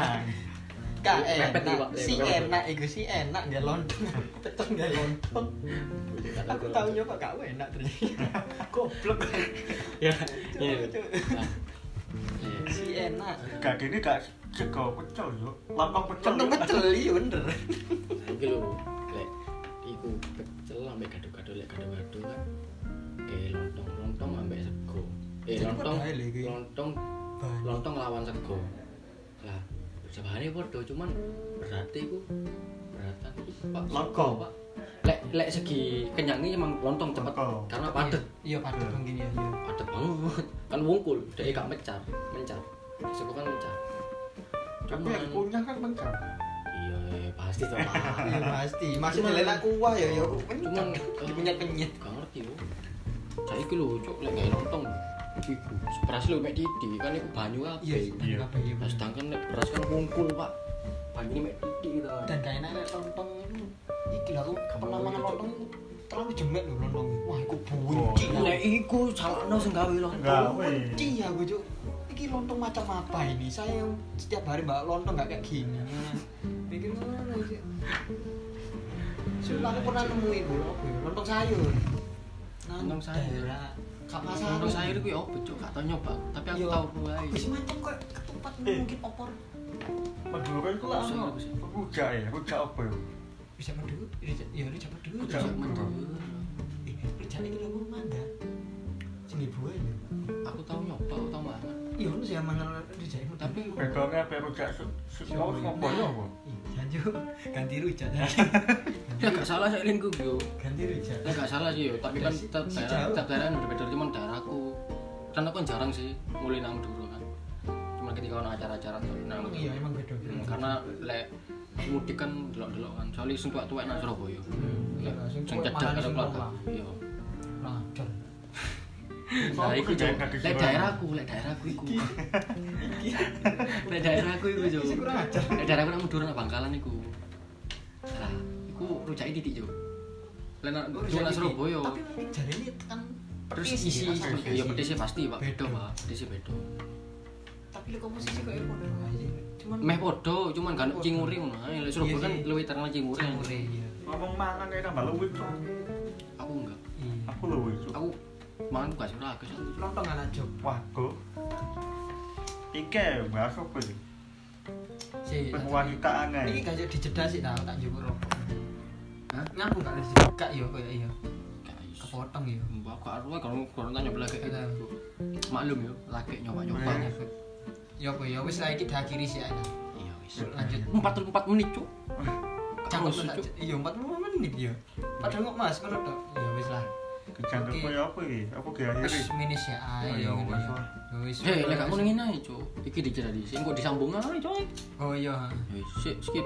Speaker 2: Gak
Speaker 1: Mepet nih, Pak.
Speaker 2: enak, si enak, itu si enak gak
Speaker 1: (laughs)
Speaker 2: lontong Tetep gak lontong Aku tahu nyoba gak enak
Speaker 1: (laughs)
Speaker 2: ternyata Goblok
Speaker 1: ya
Speaker 2: Iya.
Speaker 1: iya Nah, iya.
Speaker 2: Si enak
Speaker 3: gak gini gak sego pecel yuk lontong pecel
Speaker 2: Lontong
Speaker 3: yuk.
Speaker 2: pecel, iya bener
Speaker 1: Iki lho, lek iku pecel ambek gado-gado lek gado-gado kan kayak lontong lontong ambek sego. Eh
Speaker 2: Jadi
Speaker 1: lontong
Speaker 2: padha ae lho iki.
Speaker 1: lontong lontong lawan sego. Lah sebenarnya padha cuman berarti iku beratan iku Pak.
Speaker 3: Lontong.
Speaker 1: Pak. Lek lek segi kenyangnya emang lontong cepet
Speaker 3: Lontong.
Speaker 1: karena padet
Speaker 2: Iya padet mungkin ya
Speaker 1: (laughs)
Speaker 2: iya.
Speaker 1: padet banget kan wungkul dia gak mencar mencar sego kan mencar
Speaker 3: tapi yang
Speaker 1: cuman
Speaker 3: punya kan pecel
Speaker 1: iya iya, pasti toh Pak.
Speaker 2: Iya pasti, masih nilai aku wah ya oh, ya aku
Speaker 1: Cuman,
Speaker 2: kenceng
Speaker 1: eh,
Speaker 2: Dikunyat kenyat
Speaker 1: gak ngerti yo saiki lho cuk lek gak lontong iku beras lho mek titik kan iku banyu
Speaker 2: Iya
Speaker 1: kabeh
Speaker 2: sih, tapi
Speaker 3: Iya.
Speaker 2: apa iya
Speaker 1: nah sedangkan lek beras kan kumpul pak banyu mek titik gitu
Speaker 2: Dan
Speaker 1: kan
Speaker 2: gak enak lek lontong itu Iki lah aku pernah
Speaker 1: Gampang
Speaker 2: makan
Speaker 1: gitu.
Speaker 2: lontong itu Terlalu jemek lho lontong Wah aku
Speaker 3: Oh,
Speaker 2: bunci
Speaker 1: lek iku salahno sing gawe
Speaker 3: Enggak.
Speaker 1: lontong
Speaker 3: Apa ini?
Speaker 2: Benci Oh, aku cuk Iki lontong macam apa ini? Saya yang setiap hari mbak lontong gak kayak gini Pikir mana sih? Sumpah aku pernah nemuin bu apa ya? Lontong sayur Nah,
Speaker 1: Lontong sayur.
Speaker 2: daerah Kapasan.
Speaker 1: Lontong sayur kuwi opo cuk gak tau nyoba tapi aku
Speaker 2: Iya.
Speaker 1: tau wae
Speaker 2: Wis macam kayak ketupat
Speaker 3: Eh.
Speaker 2: mungkin opor
Speaker 3: Madura itu lah
Speaker 1: Pusing,
Speaker 3: apa?
Speaker 1: pusing.
Speaker 3: rujak ya rujak apa ya
Speaker 2: bisa medut ya lu coba dulu
Speaker 3: Rujak.
Speaker 2: eh kerja ini lu mau manda sini buah ya
Speaker 1: aku tau nyoba aku tau mangan
Speaker 2: iya lu sih yang mangan rujak itu tapi
Speaker 1: tapi
Speaker 3: bedanya apa rujak se- se- saus apa ya apa
Speaker 2: janju Iya, ganti
Speaker 1: (laughs)
Speaker 2: rujak
Speaker 1: ya gak salah saya lingku yo
Speaker 2: ganti rujak
Speaker 1: ya gak salah sih yo tapi kan
Speaker 2: Si-
Speaker 1: tiap
Speaker 2: si
Speaker 1: daerah
Speaker 2: Iya jauh.
Speaker 1: tiap daerah beda-beda cuman daerahku kan aku kan jarang sih mulai nang dulu kan cuma ketika ono acara-acara tuh nang
Speaker 2: iya emang beda
Speaker 1: Hmm, karena lek mudik kan delok-delok kan soalnya sing tuwek-tuwek nang Surabaya lek
Speaker 2: iya, sing
Speaker 1: sing
Speaker 2: tuwek
Speaker 1: cedak
Speaker 2: malah
Speaker 1: karo
Speaker 2: sing
Speaker 1: keluarga
Speaker 2: tua.
Speaker 1: iya
Speaker 2: nah cor
Speaker 1: nah
Speaker 3: Apa
Speaker 1: iku
Speaker 3: kerja
Speaker 1: jauh
Speaker 3: kaki
Speaker 1: lek
Speaker 3: surabaya?
Speaker 1: daerahku lek daerahku iku lek daerahku iku jauh
Speaker 2: Iki kurang ajar.
Speaker 1: lek daerahku nang Madura nang Bangkalan iku nah iku rujake titik yo lek nang
Speaker 2: Oh, Rujak
Speaker 1: Madura nang
Speaker 2: ini.
Speaker 1: Surabaya
Speaker 2: tapi mungkin jari ini kan
Speaker 1: terus
Speaker 2: petis
Speaker 1: isi
Speaker 2: ya, rasanya
Speaker 1: iya
Speaker 2: petis.
Speaker 1: pedesnya pasti Pak beda
Speaker 2: Beda.
Speaker 1: Pak pedesnya beda
Speaker 2: tapi lu komposisi kayak apa doang aja cuman
Speaker 1: meh podo cuman kan
Speaker 2: Podo.
Speaker 1: cinguri ngono ae lek Surabaya
Speaker 2: Iya
Speaker 1: kan
Speaker 2: sih.
Speaker 1: luwih terkenal cinguri
Speaker 2: Cangkure, iya
Speaker 3: ngomong makan kayak tambah luwih Cok.
Speaker 1: aku enggak
Speaker 2: Iya.
Speaker 3: aku luwih Cok.
Speaker 1: aku mangan bukan sih aku sih
Speaker 2: lontong anak jok
Speaker 3: wah kok iki ya, bahas apa sih
Speaker 2: sih
Speaker 3: wanita
Speaker 2: Ini
Speaker 3: aneh
Speaker 2: gak jadi jeda sih tau, tak jebuk rokok
Speaker 1: Hah?
Speaker 2: Ngaku gak ada sih? Gak yo, kayak iya
Speaker 1: Gak iso.
Speaker 2: Kepotong yo
Speaker 1: Mbak kok arwah kalau kalau tanya lagi
Speaker 2: Iya.
Speaker 1: gitu. maklum ya, yo lagi nyoba nyoba.
Speaker 3: Iya.
Speaker 2: Yo apa yo, wis lagi diakhiri sih aja
Speaker 1: Iya wis.
Speaker 2: Lanjut
Speaker 1: Empat puluh empat menit cuk. Cakep
Speaker 2: Cakep
Speaker 1: cuk.
Speaker 2: Iya, 40 menit yo Padahal kok mas, menurut tak? Iya, wis lah
Speaker 3: Kejangkau
Speaker 5: Oke.
Speaker 3: koyo apa iki? Apa diakhiri?
Speaker 5: Wis minus ya
Speaker 2: Ah,
Speaker 3: Oh,
Speaker 5: ae.
Speaker 3: ya
Speaker 5: ngono
Speaker 3: wis
Speaker 5: ya.
Speaker 3: lah.
Speaker 5: Wis.
Speaker 1: Hei,
Speaker 5: wis.
Speaker 1: lek aku ngene ae, Cuk. Iki dikira di sing kok disambung ae, coy.
Speaker 5: Oh iya.
Speaker 1: Hei, sik skip.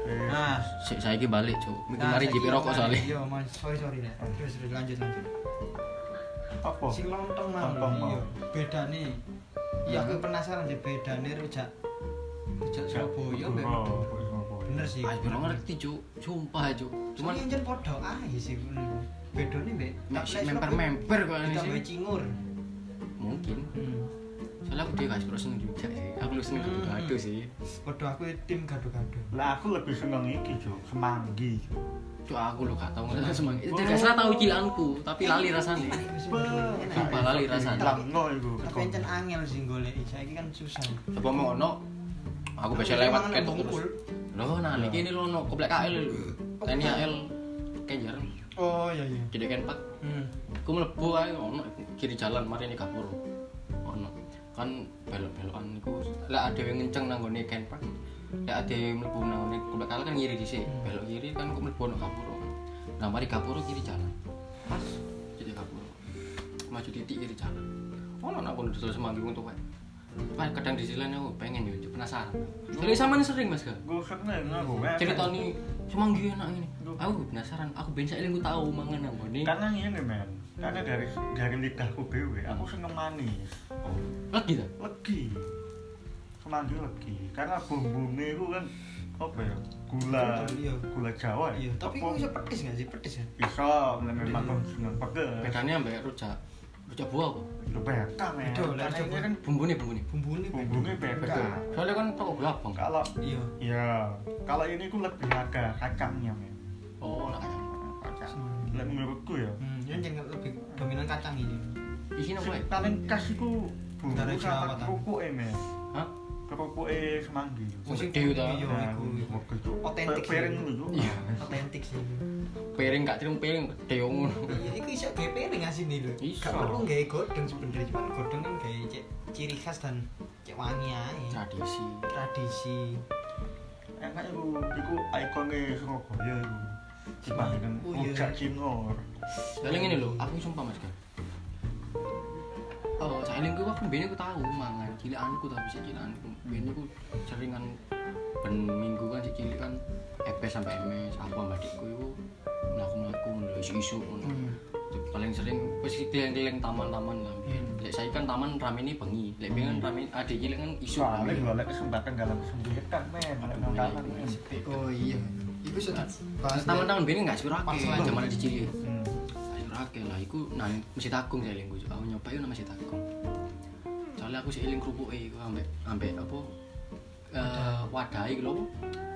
Speaker 3: Eh,
Speaker 2: nah
Speaker 1: Sik saiki balik, Cuk. Minggu
Speaker 2: nah,
Speaker 1: mari
Speaker 2: saiki
Speaker 1: jipi rokok
Speaker 2: mari.
Speaker 1: soalnya.
Speaker 2: iya mas sorry sorry nek terus terus lanjut lanjut
Speaker 3: apa?
Speaker 2: si lontong mah
Speaker 3: Oh. Lontong mau.
Speaker 2: iya beda nih iya aku penasaran sih beda nih rujak rujak Surabaya
Speaker 3: Gak- Oh.
Speaker 2: mbek
Speaker 3: Gak-
Speaker 2: Medok.
Speaker 3: Gak-
Speaker 2: bener sih
Speaker 1: Aku ora Ah, ngerti, Cuk. Sumpah, Cuk.
Speaker 2: cuman
Speaker 1: Cuman
Speaker 2: yang podo aja sih bener beda nih mbek
Speaker 1: nek
Speaker 2: tapi
Speaker 1: sik
Speaker 2: nek Surabaya
Speaker 1: memper-memper kok ini sih. Hmm.
Speaker 2: ditambah cingur
Speaker 1: Mungkin. Soalnya aku dia guys, bro seneng juga sih. Aku lu seneng
Speaker 2: Hmm.
Speaker 1: gado sih.
Speaker 2: podo aku tim gado-gado
Speaker 3: Lah aku lebih seneng iki, Jo. Semanggi.
Speaker 1: Cuk, aku lu gak tau ngerasa semang. Itu gak salah tau cilanku, tapi lali rasanya. Sumpah lali rasanya.
Speaker 3: Lengo iku.
Speaker 2: tapi encen angel sih golek saiki kan susah
Speaker 1: Coba mau ono aku bisa
Speaker 2: Tapi
Speaker 1: lewat
Speaker 2: mangan
Speaker 1: ketok
Speaker 2: nang
Speaker 1: terus.
Speaker 2: bungkul.
Speaker 1: Loh, nah
Speaker 3: Ya.
Speaker 1: iki ini lo ono komplek KL lho. TNI KL Kenjer.
Speaker 2: oh iya iya
Speaker 1: Jadi kenpak.
Speaker 2: hmm.
Speaker 1: Aku mlebu ae ono kiri jalan mari ini kapur. Ono. Kan belok-belokan iku lek ada yang ngenceng nang gone kenpak. Lek ada yang mlebu nang gone komplek KL kan ngiri dhisik. Belok kiri kan aku mlebu ono kapur. Nah, mari kapur kiri jalan. Pas jadi kapur. Maju titik kiri jalan. Ono nak kono dulu semanggi untuk wae. Pak kadang di sini aku pengen yo penasaran. Jadi sama ini sering Mas Kak.
Speaker 3: Gue seneng aku.
Speaker 1: cerita
Speaker 3: enak.
Speaker 1: nih cuma gini enak ini aku penasaran aku ben saya ku tahu mangan apa nih
Speaker 3: Karena ngene, men.
Speaker 2: Hmm.
Speaker 3: Karena dari dari lidahku dhewe aku seneng manis.
Speaker 1: lagi tak
Speaker 3: legi semanggi legi karena bumbune itu kan apa ya gula
Speaker 2: Iya.
Speaker 3: gula jawa ya
Speaker 2: iya tapi kok
Speaker 3: Apa?
Speaker 2: bisa pedes nggak sih pedes ya
Speaker 3: bisa memang dengan pedes
Speaker 1: bedanya ambek rujak rujak buah apa
Speaker 3: lu beta men
Speaker 2: Betul,
Speaker 3: Karena
Speaker 2: rujak
Speaker 3: ini
Speaker 2: buah.
Speaker 3: kan
Speaker 1: bumbunya bumbunya
Speaker 2: bumbunya
Speaker 3: bumbune beda
Speaker 2: Enggak.
Speaker 1: soalnya kan toko belakang
Speaker 3: kalau
Speaker 2: iya
Speaker 3: ya kalau ini ku lebih ada kacangnya men
Speaker 1: oh nak kacang
Speaker 3: kacang Lah, menurutku ya
Speaker 2: hmm, ini jangan lebih dominan kacang ini
Speaker 1: isinya apa
Speaker 3: sing
Speaker 1: ya
Speaker 3: paling khas itu bumbu
Speaker 2: Dari
Speaker 3: sama
Speaker 2: Jawa, kan?
Speaker 3: kerupuk men
Speaker 1: hah
Speaker 3: kerupuk semanggi
Speaker 1: Sing gede ta?
Speaker 2: iya
Speaker 3: Nah,
Speaker 2: iku iku.
Speaker 3: waktu itu
Speaker 2: Otentik sih.
Speaker 3: piring Ah. dulu
Speaker 1: Iya.
Speaker 2: otentik sih
Speaker 1: piring gak terung piring gede yang ngono
Speaker 2: iya itu bisa gaya piring asli nih lho
Speaker 1: Iso.
Speaker 2: gak perlu gaya godeng sebenernya cuman godeng kan gaya cek ciri khas dan cek wangi aja
Speaker 1: tradisi
Speaker 2: tradisi
Speaker 3: enak itu itu ikonnya Surabaya itu dibandingkan
Speaker 2: Oh, iya.
Speaker 3: rujak cingur
Speaker 1: soalnya gini loh aku sumpah mas kan Oh, saya lingkup aku biasanya aku tahu mangan cilaanku tapi si cilaanku biasanya aku seringan ben minggu kan si cilik kan EP sampai MS aku sama adikku itu melaku melaku isu isu Hmm. paling sering wis keliling keliling taman taman lah
Speaker 2: Hmm.
Speaker 1: biyen lek saya kan taman rame ini bengi lek biyen kan rame adik cilik kan isu
Speaker 3: soalnya gue oleh kesempatan dalam kesempitan men oleh nontonan
Speaker 2: oh iya itu sudah bahas
Speaker 1: taman taman biyen nggak surake
Speaker 2: Pas lah.
Speaker 1: zaman adik cilik Ayo rake lah, iku nang mesti takung saya lingku. Aku nyoba iku nang mesti takung. Soalnya aku sih eling kerupuk iku ambek ambek apa eh wadah iku lho. apa?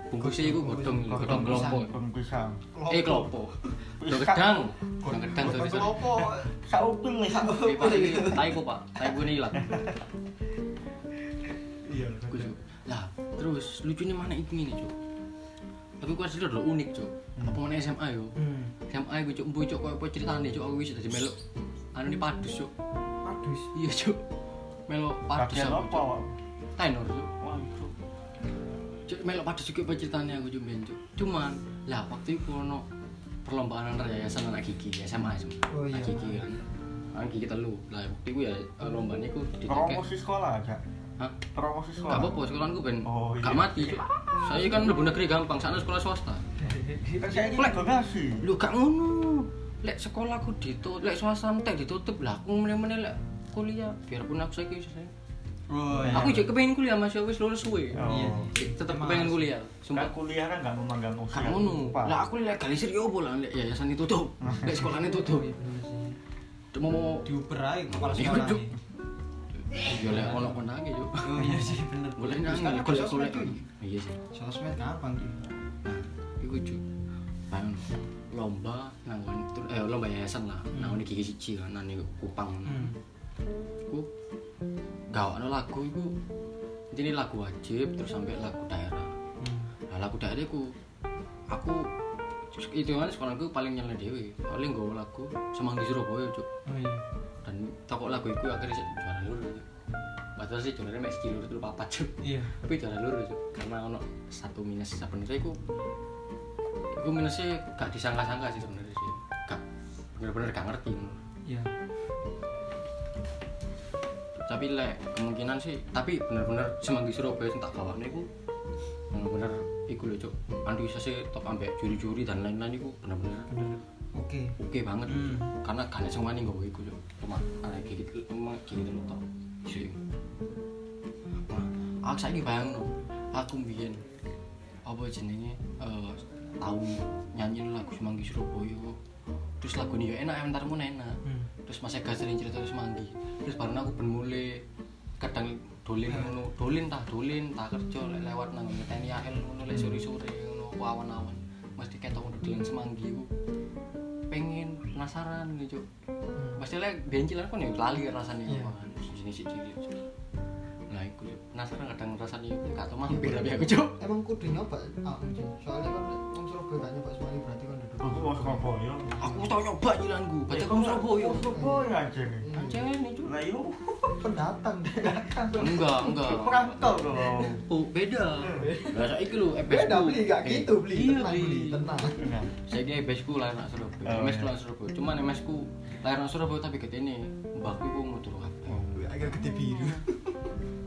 Speaker 1: Bungkusnya iku godhong godhong kelopo.
Speaker 3: Godong pisang
Speaker 1: Eh kelopo. Godhong gedang. Godhong gedang sorry sorry.
Speaker 2: kelopo
Speaker 3: saupil nih
Speaker 1: Eh Pak, iki taiku Pak. Taiku ini ilang.
Speaker 2: iya
Speaker 1: Aku, Cuk. Lah, terus lucunya mana iku ini, Cuk? Tapi kuwi asli lho unik, Cuk. Apa mana SMA yo?
Speaker 2: hmm.
Speaker 1: SMA iku Cuk, mbuh Cuk koyo apa ceritane Cuk aku wis dadi melok. Anu ini padus, Cuk.
Speaker 2: padus
Speaker 1: Iya, Cuk. Melok padus
Speaker 3: bagian
Speaker 1: aku,
Speaker 3: apa
Speaker 1: Cuk. tenor Cuk.
Speaker 3: wah itu
Speaker 1: Cuk, melok pada juga ceritanya aku cuma Cuk. Cuman lah waktu itu ono perlombaan antar yayasan anak gigi SMA SMA.
Speaker 2: Oh, iya.
Speaker 1: Anak gigi kan. Anak gigi telu. Lah waktu itu ya eh, lombanya aku ditekek.
Speaker 3: promosi sekolah aja
Speaker 1: Hah?
Speaker 3: promosi
Speaker 1: Gak
Speaker 3: sekolah
Speaker 1: apa-apa sekolahanku ben
Speaker 3: Oh, iya.
Speaker 1: gak mati. Cuk. Saya kan mlebu negeri gampang, sana sekolah swasta.
Speaker 3: Kan saya ini donasi
Speaker 1: Lu gak ngono. Lek sekolahku ditutup, lek swasta entek ditutup lah aku meneh-meneh lek kuliah biarpun aku saiki saya.
Speaker 2: oh
Speaker 1: Aku juga kepengen kuliah Mas ya wis lulus suwe.
Speaker 2: Iya.
Speaker 3: Oh.
Speaker 1: Tetep
Speaker 2: Mas.
Speaker 1: kepengen kuliah. Sumpah.
Speaker 3: Kan kuliah kan gak memanggang usia
Speaker 1: Gak ngono.
Speaker 3: Pak.
Speaker 1: Lah aku legalisir yo opo lah lek yayasan itu tutup. Lek sekolahane tutup. Cuma
Speaker 2: (laughs)
Speaker 1: mau
Speaker 2: diuber aja kepala
Speaker 1: Iya,
Speaker 2: sekolah
Speaker 1: Cuk.
Speaker 2: nih.
Speaker 1: yo lek ono konange yo.
Speaker 2: oh iya sih bener
Speaker 1: Boleh
Speaker 2: Terus
Speaker 1: nang
Speaker 2: kan ada sosmed
Speaker 1: golek-golek.
Speaker 2: cuy
Speaker 1: Iya sih.
Speaker 2: sosmed gampang cuy
Speaker 1: Nah, iku cu. Bayang lomba nanggon eh lomba yayasan lah. Nanggon gigi siji kan nang niku kupang.
Speaker 2: Hmm.
Speaker 1: Iku gawakno lagu iku. Intine lagu wajib terus sampai lagu daerah. Nah, lagu daerahku aku itu kan sekolahku paling nyele dewe. Paling nggawa lagu Semanggi Surabaya, Cuk.
Speaker 2: oh iya
Speaker 1: dan toko lagu itu akhirnya sih juara lur padahal sih juaranya masih di lur terus papat Cuk.
Speaker 2: iya
Speaker 1: tapi juara lur Cuk. karena ono satu minus sebenarnya aku aku minusnya gak disangka-sangka sih sebenarnya sih gak bener-bener gak ngerti
Speaker 2: Iya.
Speaker 1: tapi lek kemungkinan sih tapi bener-bener semanggi Surabaya sing tak gawane iku bener-bener iku lho cuk antusiasnya top ambek juri-juri dan lain-lain iku bener-bener
Speaker 2: Oke.
Speaker 1: oke banget
Speaker 2: Hmm.
Speaker 1: karena gak semua nih gue iku cuk cuma ada gigit cuma gigit lu tau sih Nah, aku saiki bayang aku mbiyen apa jenenge eh tau nyanyi lagu semanggi Surabaya terus lagu ini ya enak entarmu enak
Speaker 2: Hmm.
Speaker 1: terus masih gak sering cerita terus manggi terus bareng aku ben mulai kadang dolin ngono dolin tak dolin tak kerja lek lewat nang ngeteni akhir ngono lek sore-sore ngono apa awan-awan mesti ketok ngono dolin semanggi ku pengen penasaran gitu Cuk. mesti lek biyen cilik kan ya lali rasanya
Speaker 2: Iya.
Speaker 1: yeah. jenis cilik Cuk. nah iku Cuk. penasaran kadang rasanya gak tau mampir tapi aku cuk
Speaker 2: Emang kudu nyoba aku Cuk. soalnya kan orang Surabaya gak nyoba semuanya berarti kan duduk.
Speaker 1: Oh.
Speaker 3: aku mau Surabaya
Speaker 1: aku tau nyoba nyilanku baca kamu Surabaya
Speaker 3: Surabaya aja nih
Speaker 1: aja nih Cuk.
Speaker 3: lah yuk
Speaker 2: Iya. Pendatang pendatang.
Speaker 1: enggak enggak
Speaker 2: Perantau.
Speaker 3: kalau
Speaker 1: Oh, beda. Lah saiki lho EBS.
Speaker 2: Hmm. Beda beli gak gitu beli
Speaker 1: Eh, Iya,
Speaker 2: tenang beli
Speaker 1: beli.
Speaker 2: tenang.
Speaker 3: Nah,
Speaker 1: Saiki EBS ku lahir nang Surabaya.
Speaker 3: Oh,
Speaker 1: MS ku
Speaker 3: iya.
Speaker 1: lahir nang Surabaya. Cuman MS ku lahir nang Surabaya tapi ketene mbahku ku ngudur kabeh.
Speaker 3: Oh.
Speaker 2: Agak gede biru.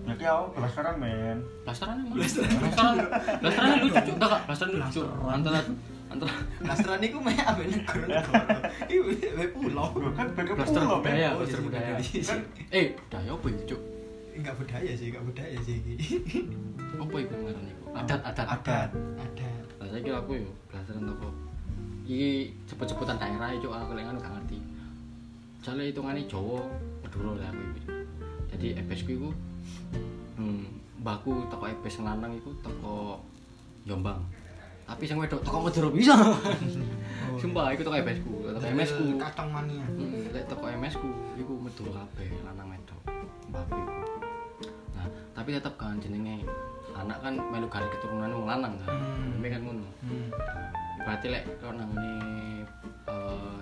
Speaker 3: nanti aku penasaran men
Speaker 1: Blasteran emang. Blasteran. Blasteran lucu, Cuk. enggak Kak. Blasteran lucu. Antara antara
Speaker 2: Blasteran iku meh ambek
Speaker 3: (laughs)
Speaker 2: negara-negara. Iku meh pulau.
Speaker 3: Loh, kan beda
Speaker 1: blaster
Speaker 3: pulau men
Speaker 1: budaya,
Speaker 2: Oh,
Speaker 1: blaster
Speaker 2: jadi
Speaker 1: budaya.
Speaker 2: budaya.
Speaker 1: Kan, Eh, budaya apa iki, Cuk?
Speaker 2: Enggak budaya sih, enggak budaya sih iki.
Speaker 1: Apa iku ngaran iku? Adat-adat.
Speaker 3: adat
Speaker 2: Ada.
Speaker 1: Lah saiki aku yo blasteran apa? Iki cepet-cepetan daerah Cuk, aku lek ngono gak ngerti. Jale hitungane Jawa, Madura lah aku iki. Jadi EBS ku iku hmm, mbahku teko EBS lanang iku teko Jombang. Tapi sing wedok teko Madura bisa. (laughs) Sumpah iku teko EBS ku, teko MS ku.
Speaker 2: Katang Eh, mania.
Speaker 1: Hmm, lek teko MS ku iku Madura kabeh lanang wedok. Mbahku iku. Nah, tapi tetep kan jenenge anak kan melu garis keturunan wong lanang kan.
Speaker 2: Hmm.
Speaker 1: Ini kan ngono.
Speaker 2: Hmm.
Speaker 1: berarti lek kalau nangane eh,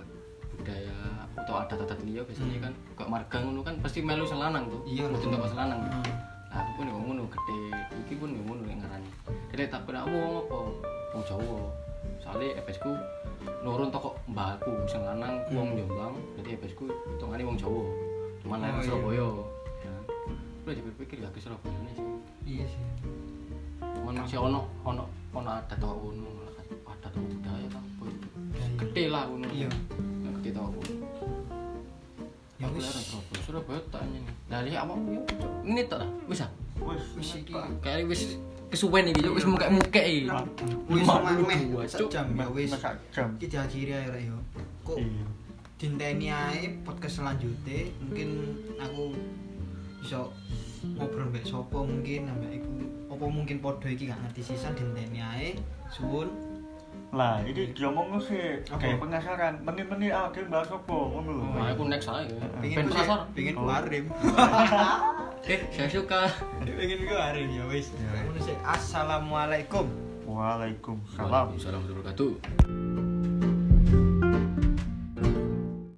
Speaker 1: budaya atau adat-adat liya biasanya kan kok marga ngono kan pasti melu selanang tuh
Speaker 2: Hmm. Iya,
Speaker 1: kudu
Speaker 2: betul.
Speaker 1: teko selanang
Speaker 2: Hmm.
Speaker 1: nah aku pun ya ngono gede iki pun ya ngono lek ngarani jadi lek tak pernah aku ngomong apa wong Jawa soalnya EPS ku nurun toko mbahku sing lanang
Speaker 2: Hmm.
Speaker 1: ku wong Jombang jadi EPS ku hitungane wong Jawa cuman lahir
Speaker 2: Oh, iya.
Speaker 1: Surabaya ya lu dipikir gak ke Surabaya nih sih
Speaker 2: Iya sih.
Speaker 1: cuman masih ono ono ono adat toko ngono adat toko budaya tau apa itu
Speaker 2: Budaya.
Speaker 1: gede lah ngono.
Speaker 2: Iya.
Speaker 1: Nah, gede tau aku.
Speaker 2: Ya
Speaker 1: Aku
Speaker 2: wis.
Speaker 1: larang Surabaya. Surabaya tak ini. Dari awakmu yo. Ini tak lah. Wis ah.
Speaker 3: wis
Speaker 2: Wis iki.
Speaker 1: Kayak wis kesuwen iki, Cuk. wis mukek-mukek iki.
Speaker 2: Wis
Speaker 1: Lima
Speaker 2: omah
Speaker 1: puluh
Speaker 2: meh
Speaker 1: dua,
Speaker 2: sak
Speaker 1: Cuk.
Speaker 2: jam ya wis.
Speaker 3: Masa jam
Speaker 2: Iki diakhiri ae rek yo. Kok
Speaker 3: iya
Speaker 2: dinteni ae podcast selanjutnya mungkin aku iso ngobrol mbek sapa mungkin ambek iku apa mungkin podo iki gak ngerti sisan dinteni ae suwun
Speaker 3: lah ini diomong
Speaker 2: Iya.
Speaker 3: sih
Speaker 2: Apa? Oh,
Speaker 3: kayak penasaran menit-menit ah dia bahas apa ngono lho
Speaker 1: Nah, aku next ae.
Speaker 2: pengen
Speaker 1: Ben
Speaker 2: ku-
Speaker 1: penasaran.
Speaker 2: pengen ku
Speaker 3: Oh. (laughs)
Speaker 2: arim
Speaker 1: Eh, saya suka.
Speaker 2: pengen ku arim ya wis
Speaker 3: Ya.
Speaker 2: Ngono sih. assalamualaikum
Speaker 3: waalaikumsalam
Speaker 1: Waalaikumsalam warahmatullahi wabarakatuh.